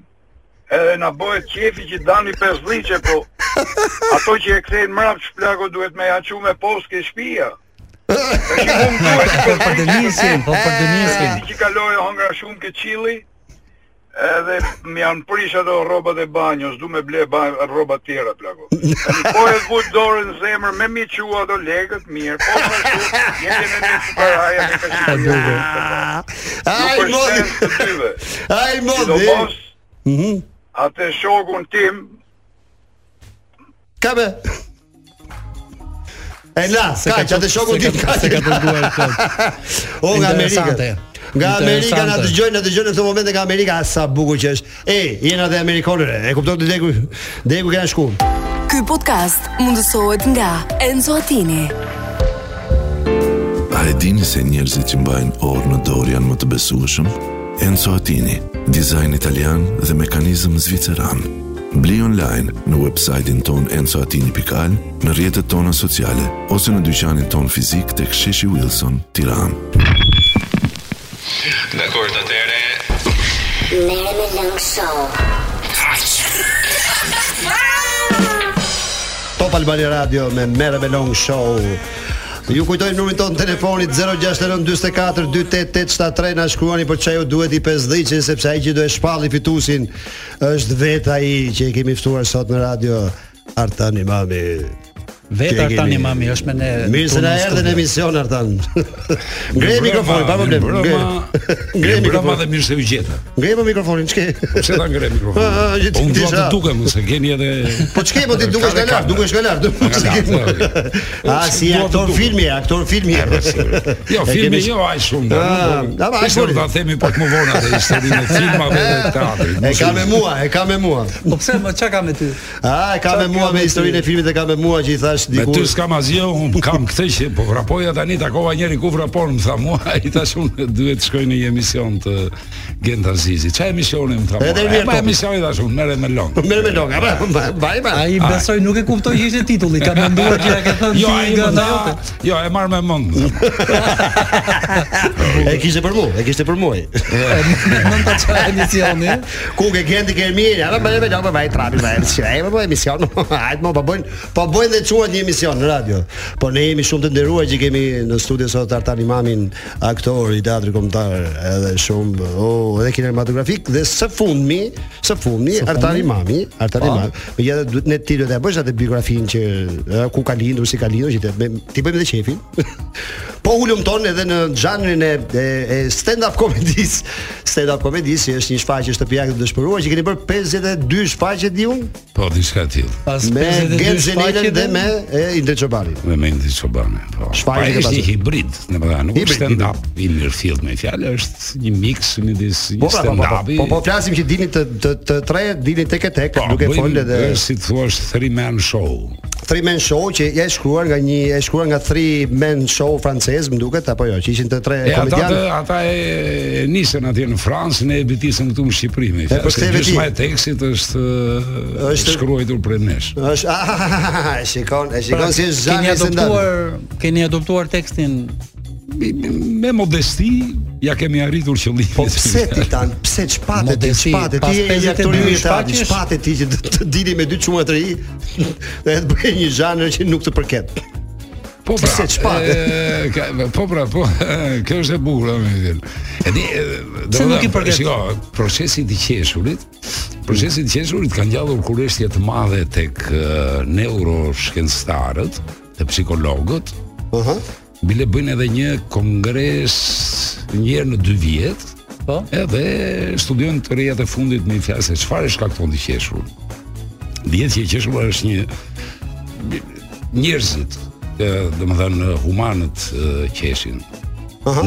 edhe na bëhet qefi që dani pesdhiqe, po ato që e kthejnë mrapsht plako duhet me jaqu me post ke shpia.
po për dënisin, po për dënisin.
Ti që kaloj hëngra shumë ke qili, edhe më janë prish ato rrobat e banjos, du me ble ba- rroba tjera plako. Tani po e vut dorën në zemër me mi qua ato legët mirë, po më shumë, jemi me mi që paraja me ka qenë.
Ai
Nuk është
modi.
sens të dyve.
Ai modi.
Sidomos,
Mhm.
atë shokun tim,
Ka be. E la,
Se
ka Ah, që atë shokun tim ka
se ka dërguar këtë.
O nga Amerika.
Interesante.
Nga Amerika na
Interesante.
dëgjojnë, na dëgjojnë në këtë moment nga Amerika, a, sa bukur që është. E, jena dhe amerikanëre. E kupton ti deku, deku kanë shku.
Ky podcast mundësohet nga Enzo Attini.
A e dini se njerëzit që mbajnë orë në dorë janë më të besueshëm? Enzo Attini, dizajn italian dhe mekanizëm zviceran. Bli online në websajtin ton enzoatini.al, në rjetët tona sociale, ose në dyqanin ton fizik të ksheshi Wilson, tiran.
Top Albani Radio me Mere me Long Show. Ju kujtoj numrin tonë telefonit 0692428873 na shkruani për çajo duhet i 50 sepse ai që do e shpalli fitusin është vetë ai që e kemi ftuar sot në radio Artani Mami.
Vetë
Që e
tani
kemi-
mami është me ne.
Mirë se na
tonë
erdhe në
studio.
emision Artan. Ngrej mikrofonin, pa problem. Ngrej.
Brama
Ngrej mikrofonin.
dhe mirë se u gjeta.
Ngrej po mikrofonin, ç'ke?
Pse ta ngre
Ah, ah,
mikrofonin?
gjithë
Po unë dua
tisha.
të dukem se keni edhe
Po ç'ke po ti dukesh nga lart, dukesh nga lart. dukesh nga lart. A si
Dua Po, të
aktor
dukem.
filmi, aktor filmi.
Jo,
E
filmi
kemi-
jo aq shumë.
Ah,
do.
ama aq
Ishte
shumë.
ta themi pak më vonë atë historinë e filmave dhe teatrit.
E
mos
ka
u-
me mua, e ka me mua.
Po pse më çka ka me ty?
A, e ka me mua me historinë e filmit e ka me mua që i thash
Me
diku.
ty s'kam asgjë, unë kam këtë që po vrapoja tani takova njëri ku vrapon, më tha mua, ai tash unë duhet të shkoj në një emision të Gent Azizi. Çfarë emisioni më tha mua?
Edhe mirë, po-
"E, ma
topi."
emisioni tash unë merre me long.
Merë me loka, vaj vaj.
Ai besoj nuk e kuptoi që ishte titulli, ka menduar që ja ke thënë
Jo,
ti
ai
nga
më
ata
tha,
jote.
jo, e marr me mend. më tha.
E kishte për mua, e kishte për mua.
Mund ta çaj emisioni.
Ku ke gjendi ke mirë, ara merë me loka, vaj trapi vaj. Ai më bëj po, emision. Hajt më po bën, po bën dhe çuat një emision në radio. Po ne jemi shumë të nderuar që kemi në studio sot Artan Imamin, aktor i teatrit kombëtar, edhe shumë, oh, edhe kinematografik dhe së fundmi, së fundmi Artan Imami, Artan Imami. Megjithatë duhet ne ti do ta bësh atë biografinë që e, ku ka lindur, si ka lindur, që ti ti bëjmë edhe shefin. po hulumton edhe në zhanrin e, e, e stand-up comedies. Stand-up comedies që është një shfaqje shtëpiake të dëshpëruar që keni bërë 52 shfaqje di un
Po diçka e tillë.
me Genzenilën dhe me e, Indre Çobanin.
me Mendi Çobane. Po.
Shfaqje
Pa
ke
është
pasur.
një hibrid, në më nuk
Hibrid,
është stand-up i mirëfillt me fjalë, është një mix midis
Po,
një
pra, po, po, po,
stand-up.
po, po, flasim që dini të, të, të tre, dini tek e tek, duke folë edhe
është si thua është three man show.
Three Men Show që e shkruar nga një e shkruar nga Three Men Show francez, më duket apo jo, që ishin të tre
E ata të,
komediantë.
ata e, e nisën atje në Fransë, ne e bitisëm këtu në Shqipëri me fjalë.
për
se
ktheve ti.
Gjysma e po tekstit është është shkruar prej nesh.
Është ah, e shikon, e
Pra,
shikon si është
Pra, keni
zhanri
adoptuar keni adoptuar tekstin
me modesti ja kemi arritur qëllimin.
Po pse ti tan? Pse çpate ti?
Modesti,
Çpate
pas
ti je i
52
aktorimi i teatrit,
shfaqjesh?
çpate ti që të- të dini me dy çuna të ri dhe të bëj një zhanër që nuk të përket.
Po pra.
Pse çpate?
e, ka- Po pra, po. Kjo është e bukur a, me vjen. E di, e, do
Pse
të
nuk i
them,
përket?
Shiko, procesi i qeshurit, procesi i qeshurit ka ngjallur kurështje të madhe tek e, neuroshkencëtarët dhe psikologët.
Ëh.
Bile bëjnë edhe një kongres një herë në dy vjet.
Po.
Edhe studiojnë të rejat e fundit me fjalë se çfarë e shkakton të qeshur. Dihet që e qeshura është një njerëzit, e, dhe më thënë humanët e, qeshin,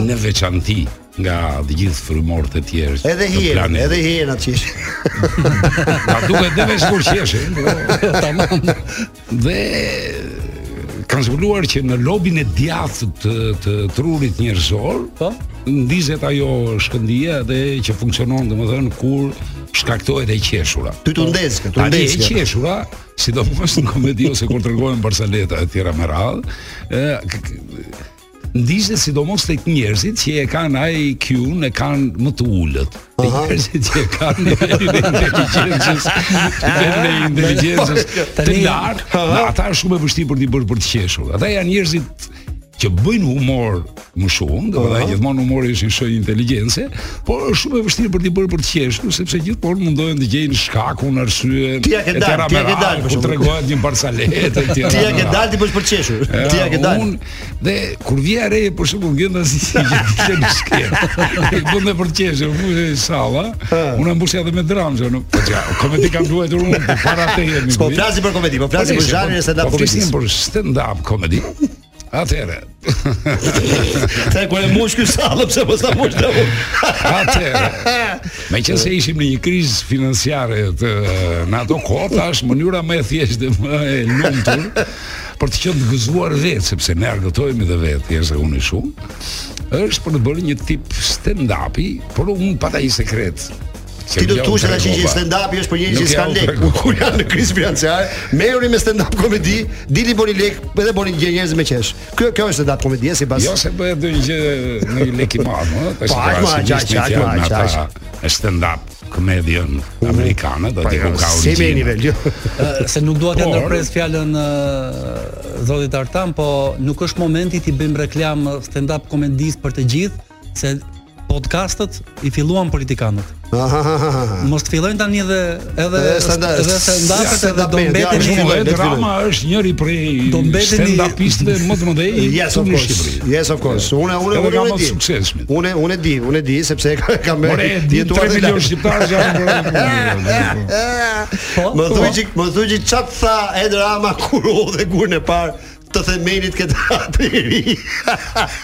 në veçanti nga të gjithë frymorët e tjerë.
Edhe
të
hien,
planetit.
edhe hien atë qish.
Na duket dhe veç kur qeshin. po. Dhe kanë zbuluar që në lobin e djathtë të, të trurit njerëzor,
po,
ndizet ajo shkëndija dhe që funksionon domethënë kur shkaktohet e qeshura.
Ty tu ndez, tu
Po, Tani
ndez.
e qeshura, sidomos në komedi ose kur tregojnë barsaleta e tjera me radhë, ë k- k- ndizet sidomos tek njerëzit që e kanë IQ-n e kanë më të ulët. Dhe njerëzit që e kanë nivelin e inteligjencës, nivelin e inteligjencës të
Tani-
lartë, dhe ata është shumë e vështirë për t'i bërë për të qeshur. Ata janë njerëzit që bëjnë humor më shumë, do të thotë gjithmonë humori është një shenjë inteligjence, por është shumë e vështirë për t'i bërë për të qeshur, sepse gjithmonë mundohen të gjejnë shkakun, arsyen,
Ti ja ke dalë, ti ja ke dalë, për
për
shembull.
po tregohet një barsalet e tjera.
Ti ja ke dalë ti bësh për qeshur. Ti ja ke
Pra,
dalë.
Unë, dhe kur vija re për shembull gjenda si si që të në shkerë. Bën dhe për të qeshur, fushë e salla. Unë mbushja edhe me dramë, që nuk. Po ja, komedi kam luajtur unë po para te jemi.
Po flasim për komedi, po flasim për zhanrin e stand-up
Po flasim
comedies.
për stand-up komedi. Atëherë,
Te kur e mush ky sallë pse mos ta mush ta
atëherë. Me që se ishim në një krizë financiare të në ato kohë, tash mënyra më e thjeshtë dhe më e lumtur për të qenë të gëzuar vetë, sepse ne argëtohemi dhe vetë, jeshtë unë i shumë, është për të bërë një tip stand-upi, por unë pata i sekret. që
Ti do
ja
të
u
thuash tash që
tregova.
stand-upi është për njerëz që
Nuk ja
s'kan
u
lek.
tregova.
Kur janë në krizë financiare, merrni me stand-up komedi, dini boni lek, edhe boni gjë njerëz me qesh. Kjo kjo është stand-up komedia sipas.
Jo se bëhet ndonjë gjë në një lek i madh, ëh,
Po, aq më, aq, aq, aq, aq,
stand up comedian amerikanë, do të ku ka
po Se me
origjinën.
nivel, jo.
Ë, se nuk
Po.
dua të
Por-
ndërpres fjalën ë, zotit Artan, po nuk është momenti ti bëjmë reklam stand up komedis për të gjithë, se podcastët i filluan politikanët. Mos të fillojnë tani edhe edhe
Edhe stand-up-
edhe stand-upet edhe do
stand-up-et, ja,
mbeteni
është
Po,
filloj,
e
le të filloj.
drama është njëri prej
Do mbeteni-
stand-upistëve më të mëdhenj
Yes of
këtu në
course.
Shqipëri.
Yes of course. Unë unë
Edhe
unë
nga
unë e
më
di.
suksesshmit.
Unë unë e di, unë e di sepse e ka- kam
Por e di 3
dhe
milion
larg.
shqiptarë janë bërë.
Po,
Më
po.
thuj që më thuj që çat tha Ed Rama kur u dhe gurën e parë të themelit këtë atë i ri.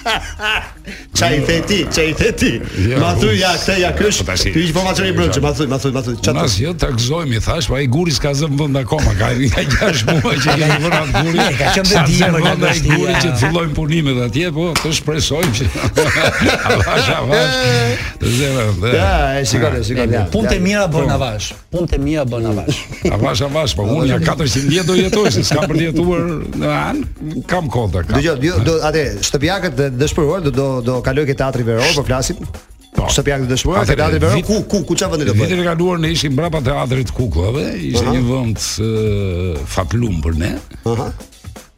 Qa i the ti, qa i the ti.
Jo,
Ma thuj ja,
unë-
këtë ja kysh.
Po, tash i-
Ky ish informacioni brëndshëm, ma thuj, ma thuj, ma thuj. Çat
Mas jo ta gëzojmë i thash, po ai guri s'ka zënë vend akoma, ka ka 6 muaj që i vënë atë guri.
Ka qenë
Sa
dhe dimër,
zënë
ka
vend ai
dashnia.
guri që të fillojnë punimet atje, po të shpresojmë që avash avash. Të zënë. dhe-
Ja, e shikon, e shikon. ja,
Punë
ja.
të mira bën avash. Punë të mira bën avash.
Avash avash, po unë ja 400 vjet do jetoj, se s'kam për të jetuar në anë, kam konta, kam.
Dëgjoj, jo, do atë shtëpiakët dhe dëshpëruar do do do kaloj ke teatri veror, po flasim.
Po.
Shtëpiakët dhe dëshpëruar, ke
Atëre,
teatri veror.
vit-
Ku ku ku çfarë vendi do bëj?
Vitin e kaluar ne ishim mbrapa teatrit Kukullave, ishte një vend e, fatlum për ne.
Aha.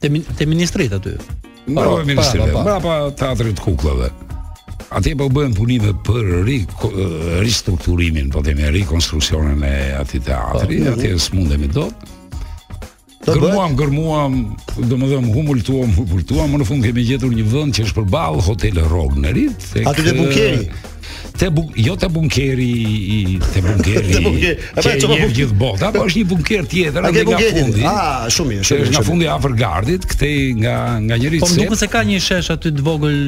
Te min- te ministrit aty.
Mbrapa ministrive,
brava,
mbrapa teatrit Kukullave. Atje po bëhen punime për ri, ko- e, ristrukturimin, po themi rekonstruksionin e atij teatri, atje s'mundemi dot.
Po, mhm. Do të
Gërmuam, gërmuam, domethënë humultuam, humultuam, më në fund kemi gjetur një vend që është përballë hotelit Rognerit. tek-
Aty te bunkeri.
Te bu, jo te bunkeri i te bunkeri.
Te bunkeri. E
Që
pra,
e njeh
çfarë bunkeri?
gjithë bota, apo është një bunker tjetër
A ke
ande nga
bunkerin?
fundi.
Ah, shumë
Që
mirë, shumë
është
mirë,
nga
shumë
fundi afër gardit, kthej nga nga njëri
Po më duket se ka një shesh aty të vogël.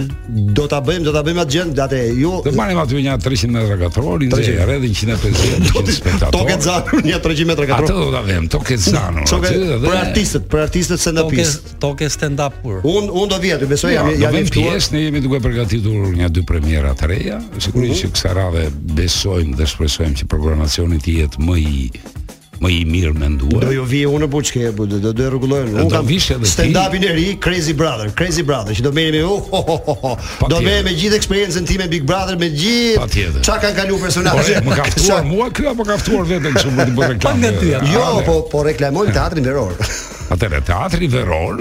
Do ta bëjmë, do ta bëjmë atë jo- gjë, atë ju.
Do marrim aty një 300 metra katror, i
300.
nxjerr edhe 150 do të spektator.
Tokë zanur një 300 metra katror.
Atë do ta vëmë, tokë zanur.
Tokë
aty edhe-
për artistët, për artistët
Toke
stand-upist.
toke stand-up pur.
Un un do vi aty, besoj
Ja,
jam
do
jam i
bëjmë
ftuar.
pjesë, ne jemi duke përgatitur nga dy premiera të reja. Sigurisht që kësaj radhe besojmë dhe shpresojmë që programacioni të jetë më i më i mirë menduar.
Do ju vi unë në buçke, bu, do do do e rregullojnë.
Do
Unë kam
vish edhe ti.
stand-upin e ri Crazy Brother, Crazy Brother, që do merrem me oh, oh, oh, oh, oh. do
Patjetër.
merrem me gjithë eksperiencën time Big Brother, me
Patjetër.
gjithë çka kanë kaluar
Po e,
personazhet.
më ka ftuar Ah, mua ky apo ka ftuar veten kështu për të bërë
Pak
reklamë.
nga tyja.
Jo, po po reklamojmë teatrin veror.
Atëre teatri veror,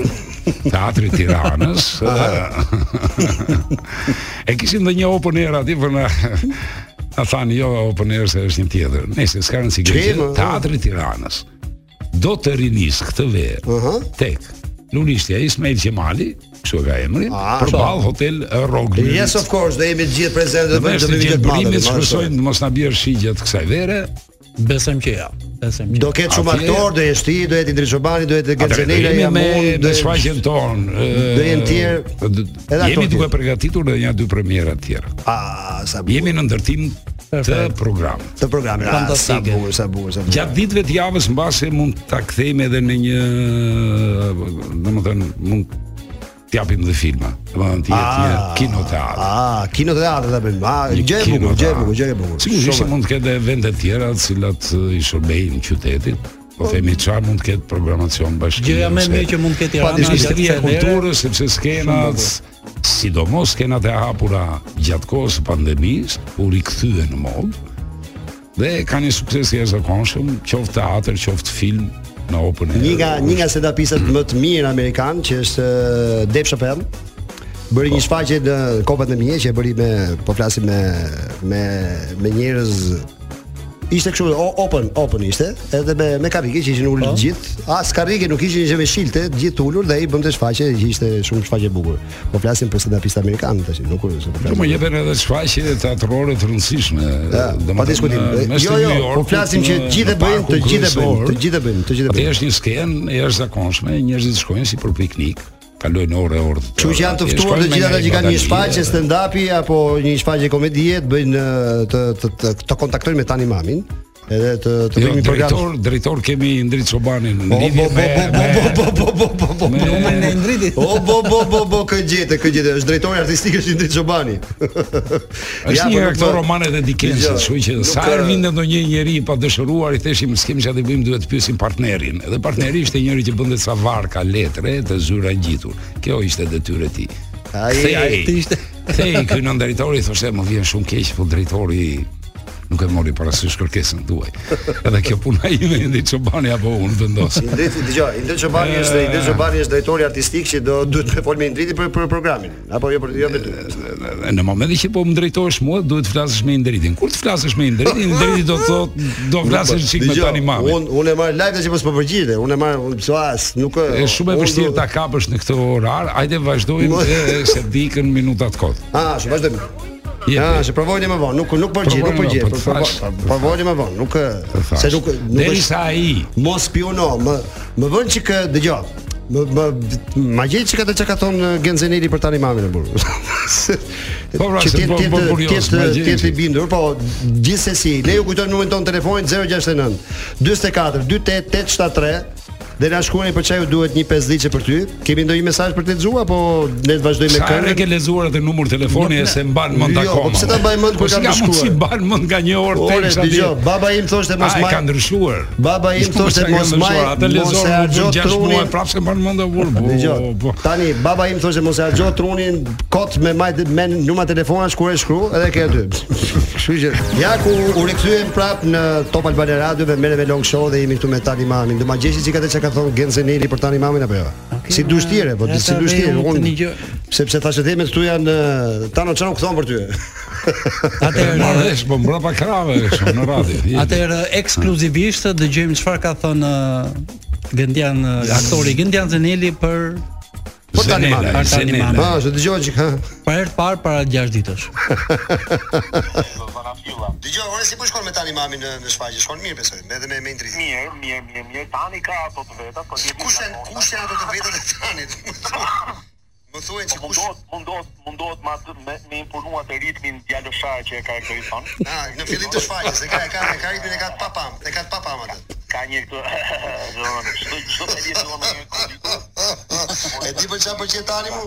teatri i Tiranës. eh, e kishim dhe një open air aty për na na thanë jo open air se është një tjetër. Nëse s'ka rëndësi kjo
Çim,
gjë,
ëh.
teatri i Tiranës do të rinis këtë verë
Aha.
tek Nunishtja Ismail Qemali, kështu e ka emrin,
Ah,
përballë hotel Rogli.
Yes of course, do jemi të gjithë prezente
Dhe
do
vesh
do
të
bëjmë
gjithë
gjë të madhe.
burimit
vazhdojmë.
shpresojnë të mos na bjerë shi gjatë kësaj vere.
Besojmë që ja. Besojmë që.
Do ketë shumë
Atje-
aktor, do jesh ti, do jeti Indri Çobani, do jeti
Atëherë, do
Gerzenela,
jemi
jam
me
unë, do
me
jesh
shfaqjen tonë. ë,
do jenë tjerë,
d-
edhe aktorë
Jemi duke
tjerë.
përgatitur edhe një dy premiera të tjera.
Ah, sa bukur.
Jemi në ndërtim të
Perfekt.
programit.
Të programin. Ah, sa
Fantastike.
bukur, sa bukur, sa bukur.
Gjatë ditëve të javës mbase mund ta kthejmë edhe në një, domethënë mund t'japim dhe filma. Domethënë të jetë një
Ah,
kinoteatr.
Ah, kinoteatr ta bëjmë. Ah,
Një
gjë e
kino
bukur, gjë e
ta.
bukur, gjë e bukur.
Sigurisht që
Shumë.
mund të ketë edhe vende të tjera të cilat eh, i shërbejnë qytetit. Po themi çfarë mund të ketë programacion bashkëpunor.
Gjëja më e mirë që mund të ketë Tirana gjatë
Ministria e
kësaj vere-
Kulturës sepse skenat sidomos skenat e hapura gjatë kohës së pandemisë u rikthyen në modë dhe ka një sukses i jashtëzakonshëm, qoftë teatër, qoftë film në open air.
Një nga një nga stand-upistët më të mirë amerikan që është eh, Dave Chappelle bëri
Po.
një shfaqje në kohë pandemie që e bëri me po flasim me me me njerëz ishte kështu o- open open ishte edhe me me karrige që ishin ulur
Po.
të gjithë as karrige nuk ishin gjë me shilte të gjithë ulur dhe ai bënte shfaqje që ishte shumë shfaqje e bukur po flasim për stand-upist amerikan tash nuk është po
Po
flasim
më jepen edhe shfaqje teatrore të rëndësishme. domethënë,
pa diskutim.
në- mes
Jo,
të
jo,
New eh,
po
Yorkut,
flasim që
në-
gjithë e
në
bëjnë, të
parkun
gjithë e bëjnë,
kryesor.
të gjithë e bëjnë, të gjithë e
Atje
bëjnë.
është një skenë e jashtëzakonshme, njerëzit shkojnë si për piknik, kalojnë orë e orë.
Kështu që janë të ftuar të gjithë ata që kanë një shfaqje stand-upi apo një shfaqje komedie të bëjnë eh, të të të, të kontaktojnë me Tani Mamin edhe të të
Jo,
bëjnë një program. Po,
drejtor, drejtor kemi Indrit Çobanin në
Bo bo
lidhje
bo
me
bo bo bo bo bo bo bo
me-
bo bo.
me-
Ne ndritit.
O bo bo bo bo bo kë gjete, kë gjete, është drejtori artistik është Indri Çobani.
Është një
po,
nga
nuk
këto
bë-
romanet e Dickens,
Dgjoj,
kështu që
nuk,
sa
eh,
herë vinte ndonjë njerëz i pa dëshiruar, i theshim s'kem çfarë të bëjmë, duhet të pyesim partnerin. Edhe partneri ishte njëri që bënte sa varka, letre, të zyra ngjitur. Kjo ishte detyrë e tij.
Ai
Kthej-
artiste.
Kthej ky në drejtori thoshte më vjen shumë keq, po drejtori nuk e mori parasysh kërkesën tuaj. Edhe kjo puna ime Indi Çobani apo unë vendos.
Indri, dëgjoj, Indri Çobani është Indri Çobani është drejtori artistik që do duhet të fol me Indritin për për programin, apo jo për jo me ty.
Në momentin që po më drejtohesh mua, duhet të flasësh me Indritin. Kur të flasësh me Indritin, Indriti do të thotë, do flasësh çik me
Dgjoj,
tani mami.
Unë unë e marr live tash po s'po përgjigjesh, unë e marr unë pse as nuk
Është shumë e
unë
vështirë
do-
ta kapësh në këtë orar. Hajde vazhdojmë
Mo-
e, se dikën minutat kot.
Ah, shumë vazhdojmë.
Jepi.
Ja, se provojnë më vonë, nuk nuk përgjigj, nuk
Provojnë më
përgjigj,
vonë, po të
provo-
thash, Po
provo- provojnë më vonë, nuk se nuk nuk është
derisa ai
mos piono, më më vën që kë dëgjoj. Më më ma gjej çka të çka ka thon eh, Genzeneli për tani mamin e burr. Se-
Po, pra,
që
se po-
tjetë-
po
tjetë-
kurios,
tjetë-
ma gjej
tjetë i
që-
bindur, po gjithsesi, ne ju kujtojmë numrin ton telefonit 069 44 48 873 dhe na shkruani për çaju duhet një pesdhiçe për ty. Kemi ndonjë mesazh për të lexuar apo ne të vazhdojmë me
Sa herë
këngën?
e ke lexuar atë numër telefoni e se mban mend
Jo,
akoma.
po pse ta mbaj mend kur
Po,
kam
s'ka
shkruar?
mundsi mban mend nga një orë
Ore,
tekst atje.
dëgjoj, baba im thoshte mos
A, Ah, e
maj-
ka ndryshuar.
Baba im
Po,
thoshte
s'e ka
mos
ndryshuar,
maj-
Atë
mos
lexon
e
më
harxho
6 muaj
trunin.
prapë se mban mend atë burr.
Oh,
Dëgjoj.
Po, po.
Tani baba im thoshte mos e harxho trunin kot me majt me numra telefonash kur e shkru edhe ke aty. Kështu që ja ku u rikthyem prap në Top Albana Radio dhe merrem me Long Show dhe jemi këtu me Tani Mamin. Do ma gjeshi çka të çka ka thon Genzeneli për Tani Mamin apo jo? Si dush tjere, po
ja,
si
ta
dush tjere.
vejmë të
Unë
një gjë.
sepse thashë themet këtu janë eh, Tano çano kthon për ty.
Atëherë
Marrësh, po mbrapa krave kështu në radio. Jepi.
Atëherë ekskluzivisht dëgjojmë çfarë ka thënë ë, Gendian uh, aktori Gendian Zeneli për
Për po tani
Zenela,
mami.
për tani
Zenela.
mami.
Ah, se dëgjoj çik, ha.
Për herë të parë para 6 ditësh.
Dëgjoj, ora si po shkon me tani mami në në Shfaqje? Shkon mirë besoj, edhe me me ndritë. Mirë, mirë, mirë, mirë. Tani ka ato të veta, po di kush janë kush janë ato të vetat e tanit. Më thuaj që kush mundohet mundohet mundohet me me imponuar të ritmin djalëshar që e karakterizon. Ah, në fillim të Shfaqjes, e ka e ka e ka ritmin e ka të papam, e ka të papam atë. Ka një këtu zonë, çdo çdo të jetë zonë një E di për çfarë pëlqen tani mu?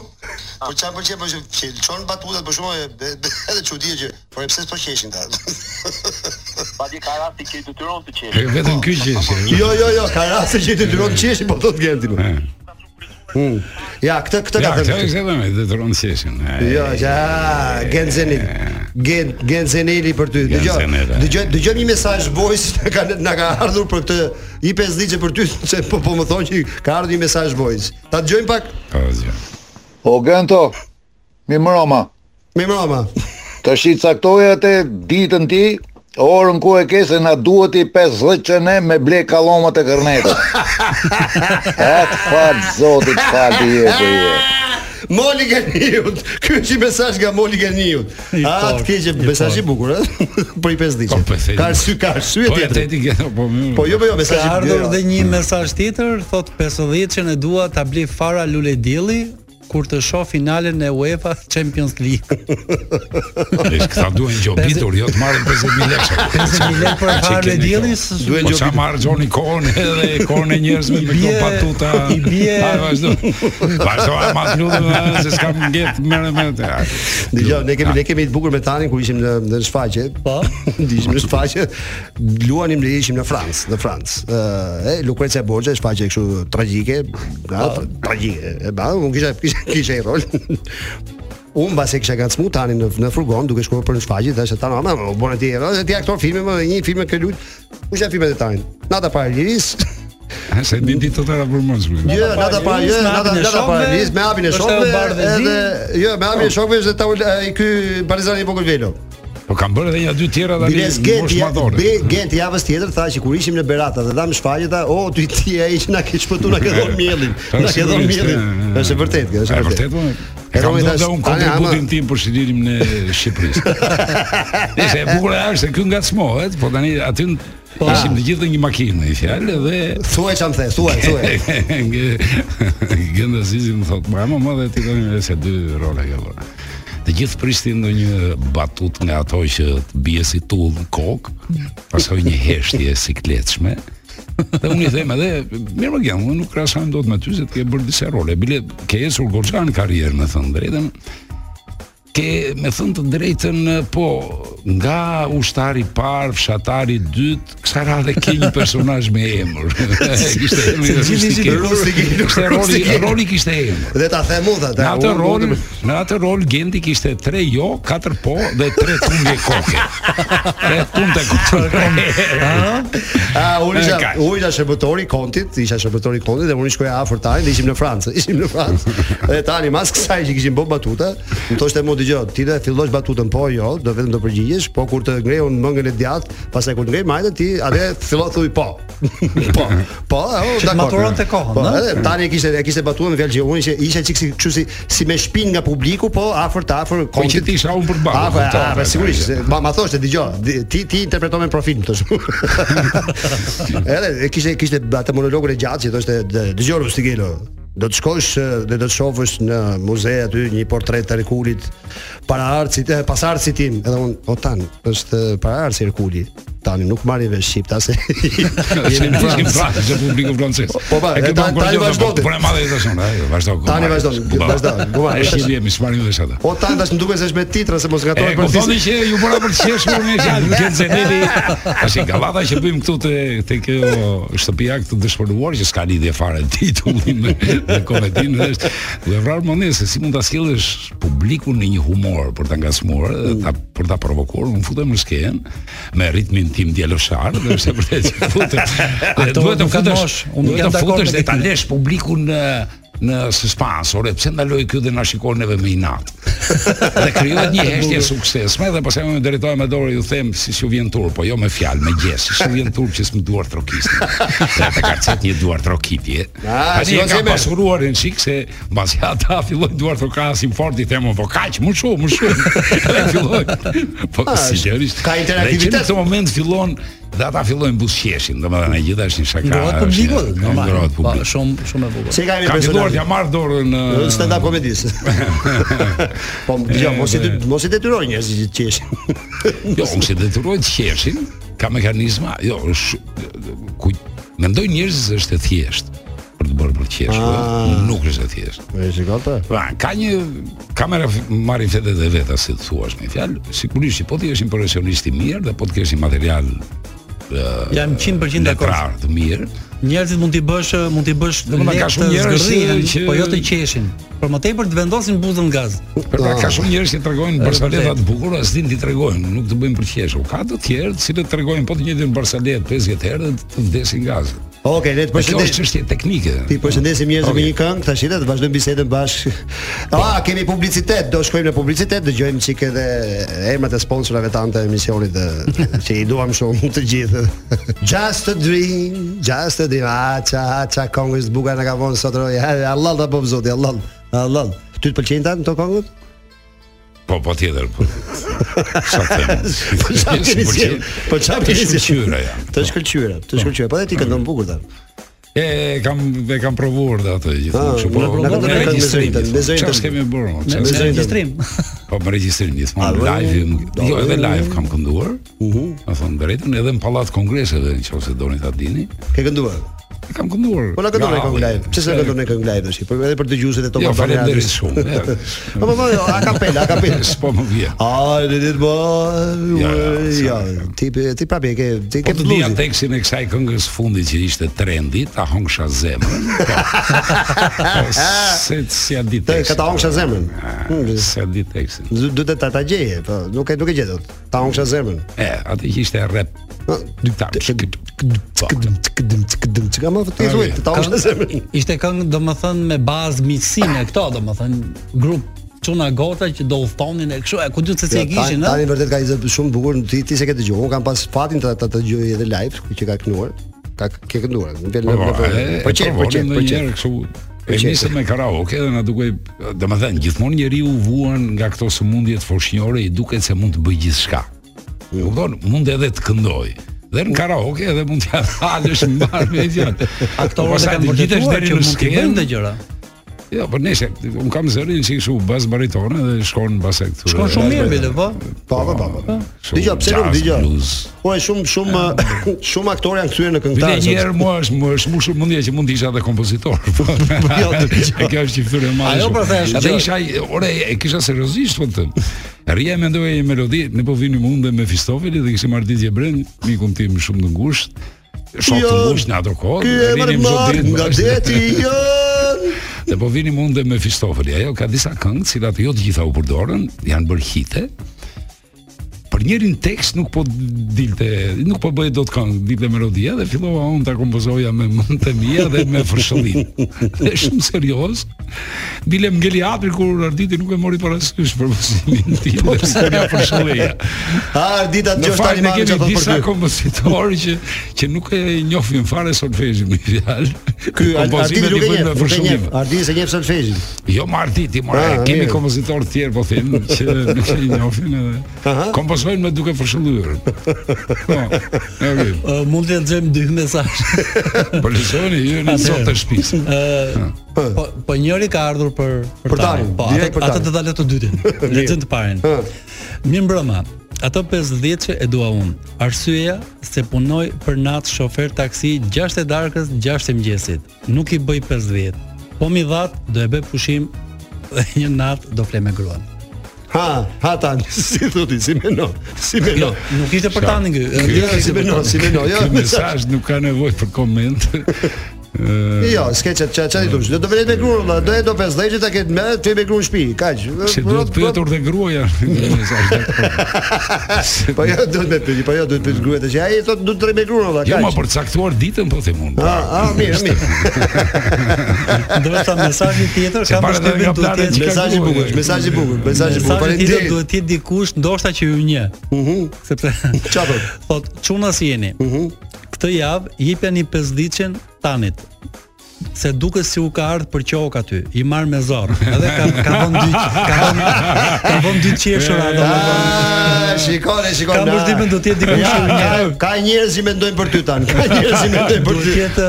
Për çfarë pëlqen për që çon batutat për shkakun edhe çudia që por e pse s'po qeshin ta. Pati ka rasti që detyron të qesh.
E, vetëm ky qeshje.
Jo, jo, jo, ka raste që ti dyron qeshin, po thot Genti më. Mm. Ja, këtë këtë ka
Ja,
thënë.
kjo është edhe me detyron qeshin. E,
Jo, ja, Genzenil. Gen Genzeneli për ty. Dëgjoj.
Genzenela.
Dëgjoj, dëgjoj një mesazh voice na ka na ka ardhur për këtë i 5 ditë për ty, se po po më thonë që ka ardhur një mesazh voice. Ta dëgjojmë pak.
Po, dëgjoj.
O Gento, mi mëroma.
Mi mëroma.
Të shi caktoja atë ditën ti, orën ku e ke se na duhet i 50 çene me ble kallomat e kërnetës. Atë fat zotit fat i e për je.
Moli Geniut. Ky është i mesazh nga Moli Geniut. A të keqë mesazh i bukur, ë? Për i 5 ditë. Ka arsye, ka arsye
Po, e
tjetër.
teti gjeto, po mirë.
Po jo, po jo,
Ka
mesazhi
ardhur dhe një mesazh tjetër, thot 50 që ne dua ta blej Fara Lule Dielli kur të shoh finalen e UEFA Champions League.
po.
Ish këta duhen gjobitur, jo të marrin 50000 lekë.
50000 lekë për Fara Lule Dielli,
Duhet gjobitur. Sa marr Gjoni kohën edhe kohën e njerëzve me këto patuta.
i bie-
A vazhdo. Vazhdo, a mas lutem a, se s'kam ngjet merr me të. A,
Dgjoj, ne kemi ne kemi të bukur me Tanin kur ishim në në shfaqje.
Po.
ishim në shfaqje, luanim ne ishim në Francë, në Francë. Ë, e Lucrezia Borgia, shfaqje kështu tragjike, nga tragjike. E ba, unë kisha kisha kisha i rol. Unë mbas e kisha gacmu tani në në furgon duke shkuar për në shfaqje, thashë tani, "Ma, u bën atje, "E, ti aktor filmi më një film me këlut." Ku janë filmet e Tanin? Nata para liris.
Se di ditë të tëra për mos.
Jo, nata para, jo, nata nata para liris, me hapin e shokëve, edhe jo, me hapin e shokëve është tavol ai ky Partizani i Vogël Velo.
Po kam bërë edhe Pra një dy tjera tani.
Biles Genti, Be Genti javës tjetër tha që kur ishim në Berata dhe dham shfaqje tha, "O ty ti ai që na ke shpëtuar, na ke dhënë miellin." Na ke dhënë miellin. Është e vërtetë kjo, është e vërtetë.
po.
E
E kam
Romi
dhënë
thash,
dhe unë
"Tani, ama-
kontributin tim për shirimin e Shqipërisë. Nëse e bukur është se ky ngacmohet, po tani aty n-
Po.
ishim të gjithë në një makinë i fjalë dhe
thuaj çam the, thuaj, thuaj.
Gjenda Zizi më thotë, "Ma ama, më dhe ti tani se dy role ke bërë." Të gjithë prishtin ndonjë batut nga ato që të bie si tull në kokë, pasoj një heshtje sikletshme. Dhe unë i them edhe, mirë më gjemë, unë nuk krasojmë do të me ty, se të ke bërë disa role. Bile, ke esur goxha në karrierë, me thënë drejtën, ke, me thënë të drejtën, po, nga ushtari i parë, fshatari i dytë, kësa radhe ke një personazh me emër. kishte emër
Se gjithë ishin rustikë,
Kishte roli,
rustikë.
roli kishte emër.
Dhe ta them unë tha,
Në atë
unë-
rol, në atë rol Gendi kishte 3 jo, 4 po dhe 3 tumje koke. 3 tumte koke.
A, Ah, unë isha,
Ka.
unë isha shërbëtori i kontit, isha shërbëtori i kontit dhe unë i shkoja afër tani dhe ishim në Francë, ishim në Francë. Dhe tani mas kësaj që kishim bën batuta, më thoshte mua dëgjoj, ti do e fillosh batutën, po jo, do vetëm do përgjigjesh, po kur të ngrehun mëngën e djathtë, pastaj kur ngrej majtën ti, atë fillo thuj po. po. Po, o,
Që të maturonte kohën,
po,
ëh?
edhe tani e kishte e kishte batuar me fjalë që unë isha isha çiksi kështu si si me shpinë nga publiku, po afër të afër
Po që ti isha unë për po, ballë,
Afër,
kuptoj,
afër,
e,
sigurisht.
e,
se- Ma ma thoshte dëgjoj, di- ti ti interpreton me profil më thosh. Edhe e kishte kishte atë monologun e gjatë që thoshte "Dë- dëgjoj Rustigelo. Do të shkosh e, dhe do të shohësh në muze aty një portret të Herkulit para arcit, eh, pas arcit tim. Edhe unë, o tan, është e, para arci Herkuli. Tani nuk marrin vesh shqipta se jemi
Ishim
në Francë.
Francë, që publiku francez.
Po, po,
E
e,
ke
tani-
bërë
tani
kurioze,
vazhdo ti.
Po e madhe tash unë, ajo, vazhdo.
Tani vazhdo, vazhdo, gumare.
E shihje mi smarim vesh atë.
O tan tash më duket se është me titra se
E
mos
po
gatoj për
kuptoni që ju bëra për të qeshur me fjalë Gen Zeneli. Tash i gallata që bëjmë këtu te te kjo shtëpia këtë dëshpëruar që s'ka lidhje fare titulli me me komedinë dhe është duhet vrarë mendje se si mund ta sjellësh publikun në një humor për ta ngasmuar dhe ta për ta provokuar, unë futem në skenë me ritmin tim djaloshar dhe është e vërtetë që futet. Dhe
Ato
Duhet të
nuk kanë
futesh,
mosh, unë nuk
duhet
jam
të
dakord me
futesh dhe ta
këtë.
lesh publikun ë, në suspans, ore, pse ndaloi ky dhe na shikon neve me inat. dhe krijohet një heshtje suksesme dhe pastaj më drejtoj me dorë ju them si ju vjen tur, po jo me fjalë, me gjes, si ju vjen tur që s'm duar trokisti. Dhe të karcet një duar trokitje.
Ah, si
Tani e
mos e
ka
merr.
pasuruar në shik se mbasi ata fillojnë duar trokasin fort i themon, po kaq, më shumë, më shumë. dhe fillojnë. Po
Ah, është-
sigurisht.
ka interaktivitet.
Dhe që Në këtë moment fillon dhe ata fillojnë buzqeshin, domethënë e gjitha është një shaka.
Ngrohet publiku,
është-
normal.
Ngrohet
Pa,
publiku.
shumë shumë e bukur.
Se i ka një
Ka filluar t'ja
personazh.
marr dorën uh,
Në
në
stand-up komedis. po, jo, mos i dy- mos i detyroj njerëzit që qeshin.
Jo, unë si detyroj të qeshin, ka mekanizma, jo, është ku mendoj njerëz se është e thjeshtë për të bërë për të qeshur,
Ah.
nuk është e thjeshtë.
E shikon ta?
Pra, ka një kamera f- marrin fetet e veta si të thuash me fjalë, sigurisht që po ti jesh impresionist i mirë dhe po të kesh një material
Jam 100%
letrar
dakord.
të mirë,
Njerëzit mund t'i bësh mund t'i bësh
pra. Domethënë, ka
lekë
shumë
të
njerëz
zgërrihen,
që-
po jo të qeshin. Por më tepër të vendosin buzën në gaz.
Për ta
Ah.
ka shumë njerëz që tregojnë
Është
barsaleta
vërtet.
të bukura, s'din ti tregojnë, nuk të bëjnë për qeshur. Ka të tjerë të cilët tregojnë po të njëjtin barsalet 50 herë dhe të vdesin gazet.
Okej, le të
Dhe Kjo është
përshëndesim.
çështje teknike.
Ti përshëndesim njerëzit me
Okej.
një këngë, tash edhe të vazhdojmë bisedën bashkë. Ah, kemi publicitet, do shkojmë në publicitet, dëgjojmë çik edhe emrat e sponsorave tanë të emisionit dhe që i duam shumë të gjithë. Just a dream, just a dream. Ah, ça ça këngës buka na ka vonë sot roj. Allah ta bëv zoti, Allah. Allah. Ty të pëlqejnë tani këto këngët?
Po, po tjetër. Po. Sa them.
Po çfarë keni
S'm pëlqen.
sjell? Po çfarë
Të
keni sjell?
shkëlqyra jam.
Të shkëlqyra, të shkëlqyra. Po dhe ti këndon bukur tani.
E kam e kam provuar dhe atë gjithmonë.
Ah,
kështu,
na
Po,
provuar dhe
regjistrim,
me zërin tënd, me zërin
çfarë
tënd.
s'kemi bërë? mo,
Me
çfarë
zërin
s'kemi-
tënd.
Po me regjistrim gjithmonë
Ah,
live. im-
po,
Jo, edhe
po,
live kam kënduar.
Uhu.
Ma thon drejtën, edhe në pallat kongreseve, nëse doni ta dini.
Ke kënduar?
E Kam kënduar.
Po na këndon e
Nga
këngë
avi.
live. Pse s'e këndon e këngë live tash? Po edhe për dëgjuesit e tonë.
Jo,
Albanianis.
faleminderit shumë. e.
Po po po, jo, a kapela, a kapela.
S'po më vjen.
A le të bëj.
Ja, ja,
Ja, ti ti prapë e ke ti
Po
ke
të dija
bluzi.
tekstin e kësaj këngës fundit që ishte trendi, ta hongsha zemrën. Po. Po, se si a di
Te
tekstin.
ka ta hongsha zemrën.
zemrën. Se a di tekstin.
Du- Duhet ta ta gjeje, po nuk e nuk e gjet dot. Ta hongsha zemrën.
E, atë që ishte rap. Dyktar.
Kdum kdum kdum çka më ti thuaj, ta hongsha zemrën.
Ishte këngë domethënë me bazë miqësinë e këto domethënë grup çuna gota që do udhtonin e kështu, e ku diut se si e
Ja,
kishin,
tani- Tani
ëh?
vërtet ka një zë shumë bukur, ti ti se ke dëgjuar. Unë kam pas fatin ta ta dëgjoj edhe live ku që ka kënuar. Ka ke kënduar. Në vjen në po çe po çe po çe.
kështu
Po
E
qef.
nisëm me karaoke dhe na duke, domethënë gjithmonë njeriu vuan nga këto sëmundje të foshnjore, i duket se mund të bëj gjithçka.
Mm.
E kupton? Mund edhe të këndoj. Dhe në karaoke edhe mund t'ja halësh mbar me gjë.
Aktorët e kanë
vërtetuar
vërtetuar që mund të bëjnë të gjëra.
Jo, po nesër, un kam zërin si kështu bas baritone dhe shkon bas e këtyre.
Shkon shumë mirë bile, po.
Po po po. po.
Shumë
Dëgjoj, pse nuk
jazz,
dëgjoj?
blues.
Ore shumë shumë shumë aktorë janë kthyer në
Vite
këngëtarë.
një
sepse-
herë mua është më është më shumë mendje që mund të isha edhe kompozitor. Po.
Jo, dëgjoj.
E Kjo është një fytyrë e madhe.
Ajo
shumë.
pra
po thash,
Edhe
jo.
dëgjoj.
isha ore e kisha seriozisht po të. Rria mendoja një melodi, ne po vinim unë dhe me Fistofeli dhe kishim Ardit Gjebren, mikun tim shumë të ngushtë. Shok të
Jo,
ngushtë në ato kohë.
Ky
dhe
e merr
rinim çdo
marr
ditë
nga
bashkë.
deti jo.
Dhe po vinim unë dhe me Fistofeli, ajo ka disa këngë cilat jo të gjitha u përdorën, janë bërë hite. Për njërin tekst nuk po dilte, nuk po bëhet dot këngë, dilte melodia dhe fillova unë ta kompozoja me mend të mia dhe me fërshëllim. Dhe shumë serioz. Bile mgeli hapir kur Arditi nuk e mori parasysh për mësimin tim. Po pse ja fërshëllia.
Ha dita
Në
dëgjoj
fakt
tani
ne
më
kemi
çfarë thon
disa
për ky.
kompozitorë që që nuk e njohin fare solfezhin me fjalë.
Ky Arditi
Kompozimet i
nuk
bëjnë me
e njeh, nuk e
fërshëllim.
njeh. Arditi se njeh solfezhin.
Jo Martiti, more,
Ah,
kemi
mirë.
kompozitor të tjerë po them që nuk e njohin edhe kompozojnë me duke përshëllyer. Po. Okej.
Ë, Mund të nxjem dy mesazhe.
Po lëzoni ju në
Atëherë.
sot të shtëpisë.
Po po njëri ka ardhur për për,
Për
tarin.
tarin,
Po,
direkt
atë
për
atë
tarin.
do ta le të dytin. Lexojmë të parën. Mirë mbrëma. Ato 50 që e dua unë. Arsyeja se punoj për natë shofer taksi 6 e darkës, 6 e mëngjesit. Nuk i bëj 50. Po mi dhat do e bëj pushim dhe një natë do fle me gruan.
Ha, ha tani, si thotë, si menon, si menon.
Jo.
Jo, Nuk ishte për tani ky.
Ky-
Ndjera
si
ishte për
menon,
tani.
si menon. Jo,
Ky mesazh nuk ka nevojë për koment.
Jo, skeçet ç'a ç'a i thosh. Do të vëlet me gruan, valla, do e do 50 ta ketë me, ty me gruan në shtëpi, kaq.
Se duhet pyetur dhe gruaja.
Po jo duhet me pyet, po jo duhet pyet gruaja që ai thotë duhet të rri me gruan valla,
Jo, ma
kaq.
për caktuar ditën po them unë.
Ah, ah, mirë, mirë.
Do të thonë mesazhi tjetër
Se
ka
para dhe nga
përshtypjen duhet të
planet
jetë
që ka Mesazhi i gruaja. bukur,
mesazhi i bukur, mesazhi i bukur.
Mesazhi tjetër
Faleminderit.
duhet të jetë dikush ndoshta që ju një.
Uhu.
Sepse
çfarë thot?
Thot, çuna si jeni.
Uhu.
Këtë javë jepjani 50 tanit se duket si u ka ardhur për qok aty. I marr me zorr. Edhe ka ka vënë dy ka vënë ka vënë dy qeshura
Ah, shikoni, shikoni.
Kam
na.
përshtypjen do të jetë dikush
Ja,
që një.
ka- Ka njerëz që mendojnë për ty tani. Ka njerëz që mendojnë për ty.
Duhet jetë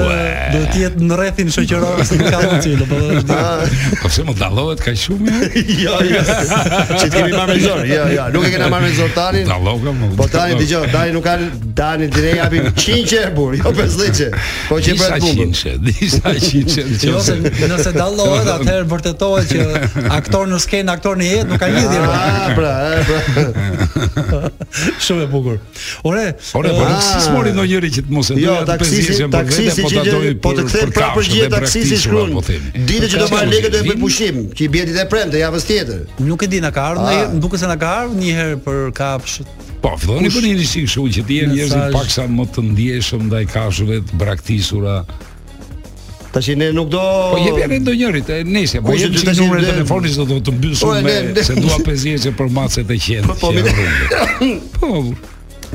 duhet të jetë në rrethin shoqëror se nuk ka mundësi,
Ah,
domethënë është diku.
Po pse më dallohet kaq shumë?
Jo, jo. Që të kemi marrë me zor. Jo, jo, nuk e kena marrë me zor tani.
Dalloka më.
Po tani dëgjoj, tani nuk kanë tani dire japim 100 e burr, jo 50. Po që
Disa
bëhet bumbë.
qinçe, disa qinçe. në
Jo, se
qoftë se-
nëse dallohet, atëherë vërtetohet që aktor në skenë, aktor në jetë nuk ka lidhje.
Ah, pra, eh, pra.
Shumë e bukur. Ore,
Ore, po nuk si mori ndonjëri që të mos e
Ah. Jo,
doja të
taksisti-
pesëdhjetë për
taksisti
vete, po
që
ta
gjë-
doj
po të kthehet prapë për gjë, taksisti shkruan.
po
Ditën që do marr lekët do e bëj pushim, që i bie ditë e premte javës tjetër.
eh, Nuk e di na ka ardhur ndonjë, më duket se na ka ardhur një herë për kapsh.
Po, filloni
Kush?
për një risi kështu që ti jeni njerëzit
Mesazh.
paksa më të ndjeshëm ndaj kafshëve të braktisura.
Tash ne nuk do
Po jep janë ndonjërit, e nesër, po
Kush
jep
do
ti
tash
numrin e
ne-
telefonit se do të mbysum
Ore,
me
ne- ne-
se dua 50 për macet e qenë.
Po,
që
mi-
janë rrugë. Po,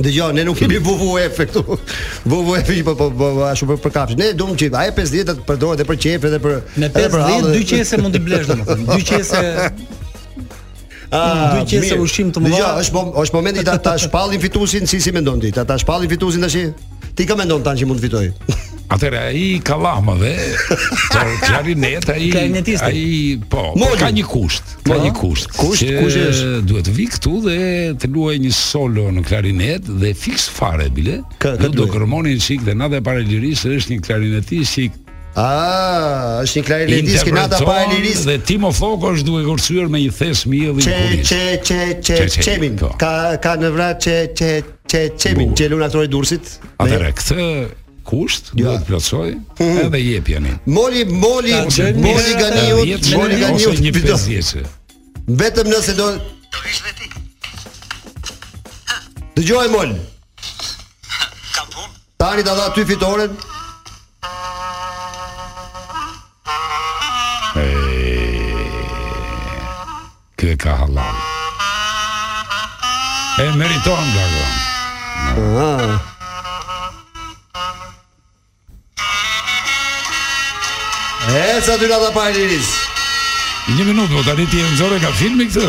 Dëgjoj, ne nuk kemi WWF këtu. WWF po po po po, ashtu për për kapsh. Ne duam që ai 50 të përdoret edhe për qef edhe për
Me
edhe për
50
hallë.
dy qese mund t'i blesh domethënë. Dy qese
Ah,
dy qese
mirë.
ushqim të mëdha.
Dëgjoj, është mom- është momenti ta ta shpallin fituesin, si si mendon ti? Ta ta shpallin fituesin tash? Ti ka mendon tani që mund të fitoj?
Atëherë ai kalama dhe por klarinet ai
Klarinetisti.
ai po
Moli.
ka një kusht, ka një kusht.
Kusht?
që
Kush është?
Duhet të vi këtu dhe të luaj një solo në klarinet dhe fiks fare bile.
Kë- kë
Ju do
luaj?
kërmoni një çik dhe na dhe para lirisë është një klarinetist që i
Ah, është një klarinetis që nata pa e
interpreton
liris.
Dhe Timo Floko është duke kërcyer me një thes mielli
Çe
kuris.
çe çe çe
Çe, çe,
çemin.
po.
Ka ka në vrat çe çe çe çemin, që lun aktori Durrësit.
Atëherë këtë kusht duhet plotësoj edhe jep janin.
Moli moli
Ta gjejmë
Mhm. moli
një-
ganiut,
Jetë
moli
ose një
ganiut. fito.
pesdjeçe.
Vetëm nëse do Dëgjoj mol.
Ka punë?
Tani ta dha ty fitoren.
Ky e ka halal. E meriton nga kjo.
Ah. E sa ty na dha pa e liris.
Një minutë, po tani ti e nxorë nga filmi këtë.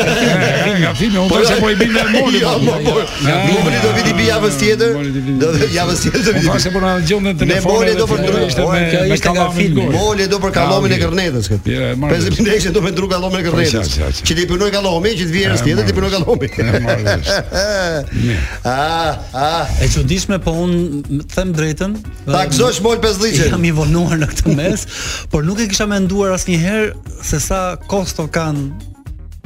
E, Nga filmi, unë thashë po i bim me moli.
Jo, po, po. Moli do viti bi javës tjetër. Do të javës tjetër do
Unë
viti.
thashë po na gjonën në
Me
telefon.
moli do për
ndryshë.
Po,
kjo ishte nga filmi.
Moli do për kallomin e kërnetës këtë.
Ja, e marrë
Pesë
vesh.
minekshë do për ndru kallomin e kërnetës.
qa, qa.
Që ti punoj kallomi, që të vjerës
E,
tjetër ti
marrë
punoj
vesh.
kallomi.
E, marrë vesh.
Ah, ah.
e çuditshme, po un them drejtën.
Ta gëzosh mol pesdhiçe.
Jam i vonuar në këtë mes, por nuk e kisha menduar asnjëherë se sa kosto kanë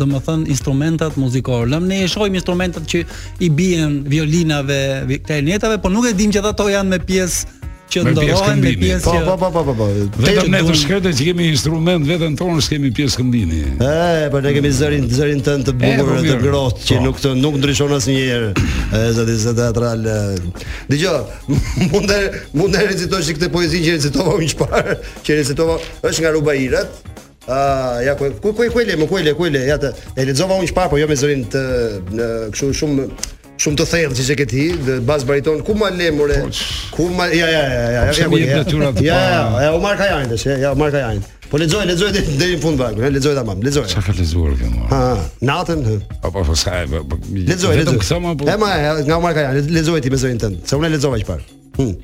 do më thënë instrumentat muzikore. Lëm ne e shohim instrumentat që i bien violinave, vi- klarinetave, por nuk e dim që edhe ato janë me pjesë që
Me pjesë
ndorohen me
këmbimi.
pjesë
Po,
që
po, po, po, po, po.
Vetëm ne të
duan-
shkretë që kemi instrument veten tonë, s'kemi pjesë këndimi.
E, po ne kemi zërin zërin tënd të
E, po
bukur të
mirë.
grohtë që
Po.
nuk të nuk ndryshon asnjëherë. E zoti zë teatral. Dgjoj, mund të mund të recitosh këtë poezi që recitova unë çfarë, që recitova është nga Rubairat. Ah, ja ku ku ku ku e le, më, ku e le, ku e le, ja të e lexova unë çfarë, po jo me zërin të në kështu shumë shumë të thellë siç e ke ti, dhe bas bariton ku ma le more. Ku ma ja ja ja ja.
Po,
ja,
pse
ja,
më
ku-
jep
ja,
natyra të
ja,
pa-
ja, ja, u marr kajanin tash, ja, ja, u marr kajanin. Po lexoj, lexoj deri deri në fund vakun, ja, lexoj tamam, lexoj.
Çka ka lexuar kjo më?
Ha, natën. hë.
Po po po sa. po, po,
Lexoj,
vetëm
lexoj.
këtë më po.
E ma, e, nga Omar Kajan, lexoj ti me zërin tënd. Se unë e lexova çfarë. Hm.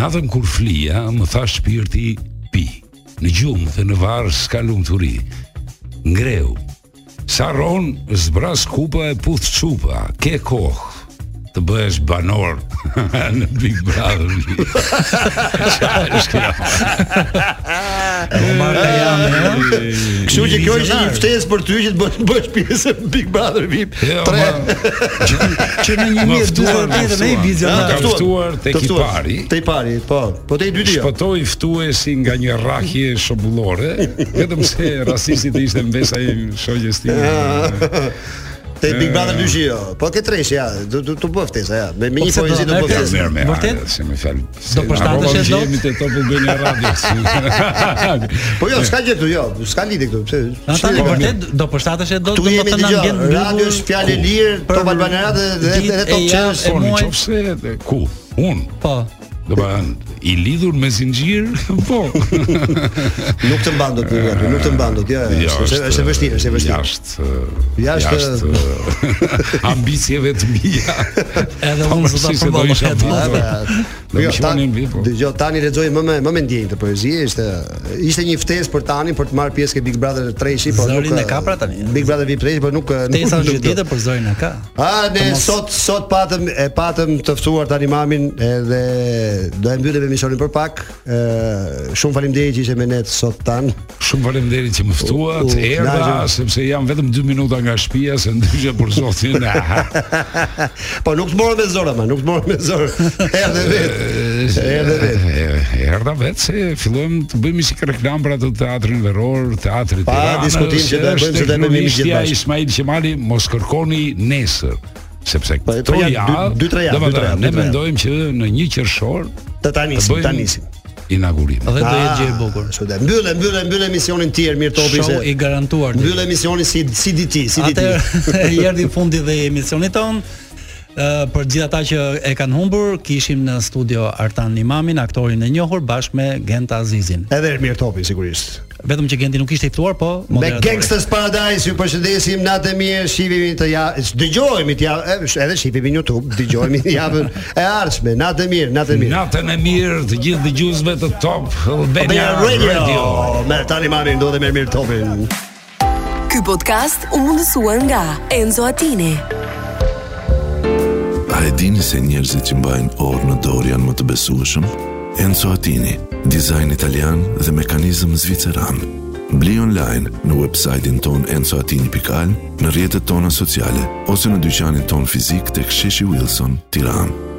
Natën kur flija, më tha shpirti pi. Në gjumë dhe në varë s'ka lumturi. Ngreu. Sa ron zbras kupa e puth çupa, ke kohë. të bëhesh banor në Big Brother. Çfarë është kjo?
Marta jam. Kështu që kjo është një ftesë për ty që të bësh bësh pjesë në Big Brother VIP.
Jo,
Tre.
Që në një mirë duhet të jetë në Ibiza. Ka ftuar tek i pari.
Te i pari, po. Po te i dyti jo.
Shpëtoi ftuesi nga një rrahje shombullore, vetëm se rasisti të ishte mbesa e shoqes
Ah,
time.
Te Big Brother dyshi jo. Po ke tresh ja, do do të bëj ftesa ja. Me
Po
me një poezi do bëj ftesë.
Vërtet? Si më fal.
Do përshtatesh e dot?
Jemi te Top Albania Radio.
Po jo, s'ka gjë këtu jo, s'ka lidhje këtu, pse?
Ata në vërtet do përshtatesh e do
po, Tu
do
jemi
të na
dëgjoj,
ngjen bukur.
radio është fjalë e lirë,
për
Top Albania Radio dhe
ditë
dhe
e
Top Channel.
javë e
Po, në
muaj.
qoftë se e, ku? Un.
Po.
Do të thënë, i lidhur me zinxhir, po.
Nuk të mban dot një aty, nuk të mban dot. Ja, ja, është është e vështirë, është e vështirë.
Jashtë.
Jashtë-
jashtë ambicieve të mia.
Edhe
Po,
unë s'u ta
si se do
përballoj
isha
atë.
bukur. Do
Jo,
më shmonin vi, po.
Dëgjoj tani lexoj më me më me ndjenjë të poezi, ishte ishte një ftesë për tani për të marrë pjesë ke Big Brother 3-shi, po nuk.
Zërin e ka pra tani.
Big Brother VIP 3-shi, po nuk nuk
Tesa është
nuk-
gjë tjetër, por zërin e ka.
A
Të
ne
mos-
sot sot patëm e patëm të ftuar tani mamin edhe do e mbyllim emisionin për pak. Ë shumë faleminderit që ishe me ne sot tan.
Shumë faleminderit që më
U,
ftuat,
u,
erdha
knaqem.
sepse jam vetëm 2 minuta nga shtëpia se ndryshe për zotin. aha.
po nuk të morëm me zor ama, nuk të morëm me zor. Erdhe vet. Erdhe vet.
E- Erdha vetë se fillojmë të bëjmë si reklam për atë teatrin veror, teatrit
Pa diskutim që do e bëjmë, se do e bëjmë jemi gjithë bashkë.
Ismail Qemali mos kërkoni nesër, sepse këto
janë
javë,
Po, dy- dy, tre javë,
domethënë,
dy, tre
ne
javë, dy, tre javë.
mendojmë që në 1 qershor
Të tanisim,
bëjmë-
të tanisim.
inaugurim.
Dhe do jetë gjë e
Ah,
bukur.
Kështu dhe mbyllë, mbyllë, mbyllë emisionin tjetër mirë topi se.
Show i garantuar.
Mbyllë emisionin si si diti, si diti.
Atë i erdhi fundi dhe i emisionit ton. Ë për gjithë ata që e kanë humbur, kishim në studio Artan Imamin, aktorin e njohur bashkë me Gent Azizin.
Edhe Ermir Topi sigurisht.
Vetëm që Genti nuk ishte i ftuar, po
Me
moderatori.
Gangsters Paradise ju përshëndesim natë e mirë, shihemi të ja, dëgjohemi të ja, edhe shihemi në YouTube, dëgjohemi javën e ardhshme, natë e mirë, natë e mirë.
Natën e mirë të gjithë dëgjuesve të Top Albania
Albania Radio.
Radio.
Me tani marrin do dhe me mirë topin.
Ky podcast u mundësua nga Enzo Attini.
A e dini se njerëzit që mbajnë orë në dorë janë më të besueshëm? Enzo Attini, dizajn italian dhe mekanizëm zviceran. Bli online në website-in ton enzoattini.al, në rjetët tona sociale, ose në dyqanin ton fizik të ksheshi Wilson, tiranë.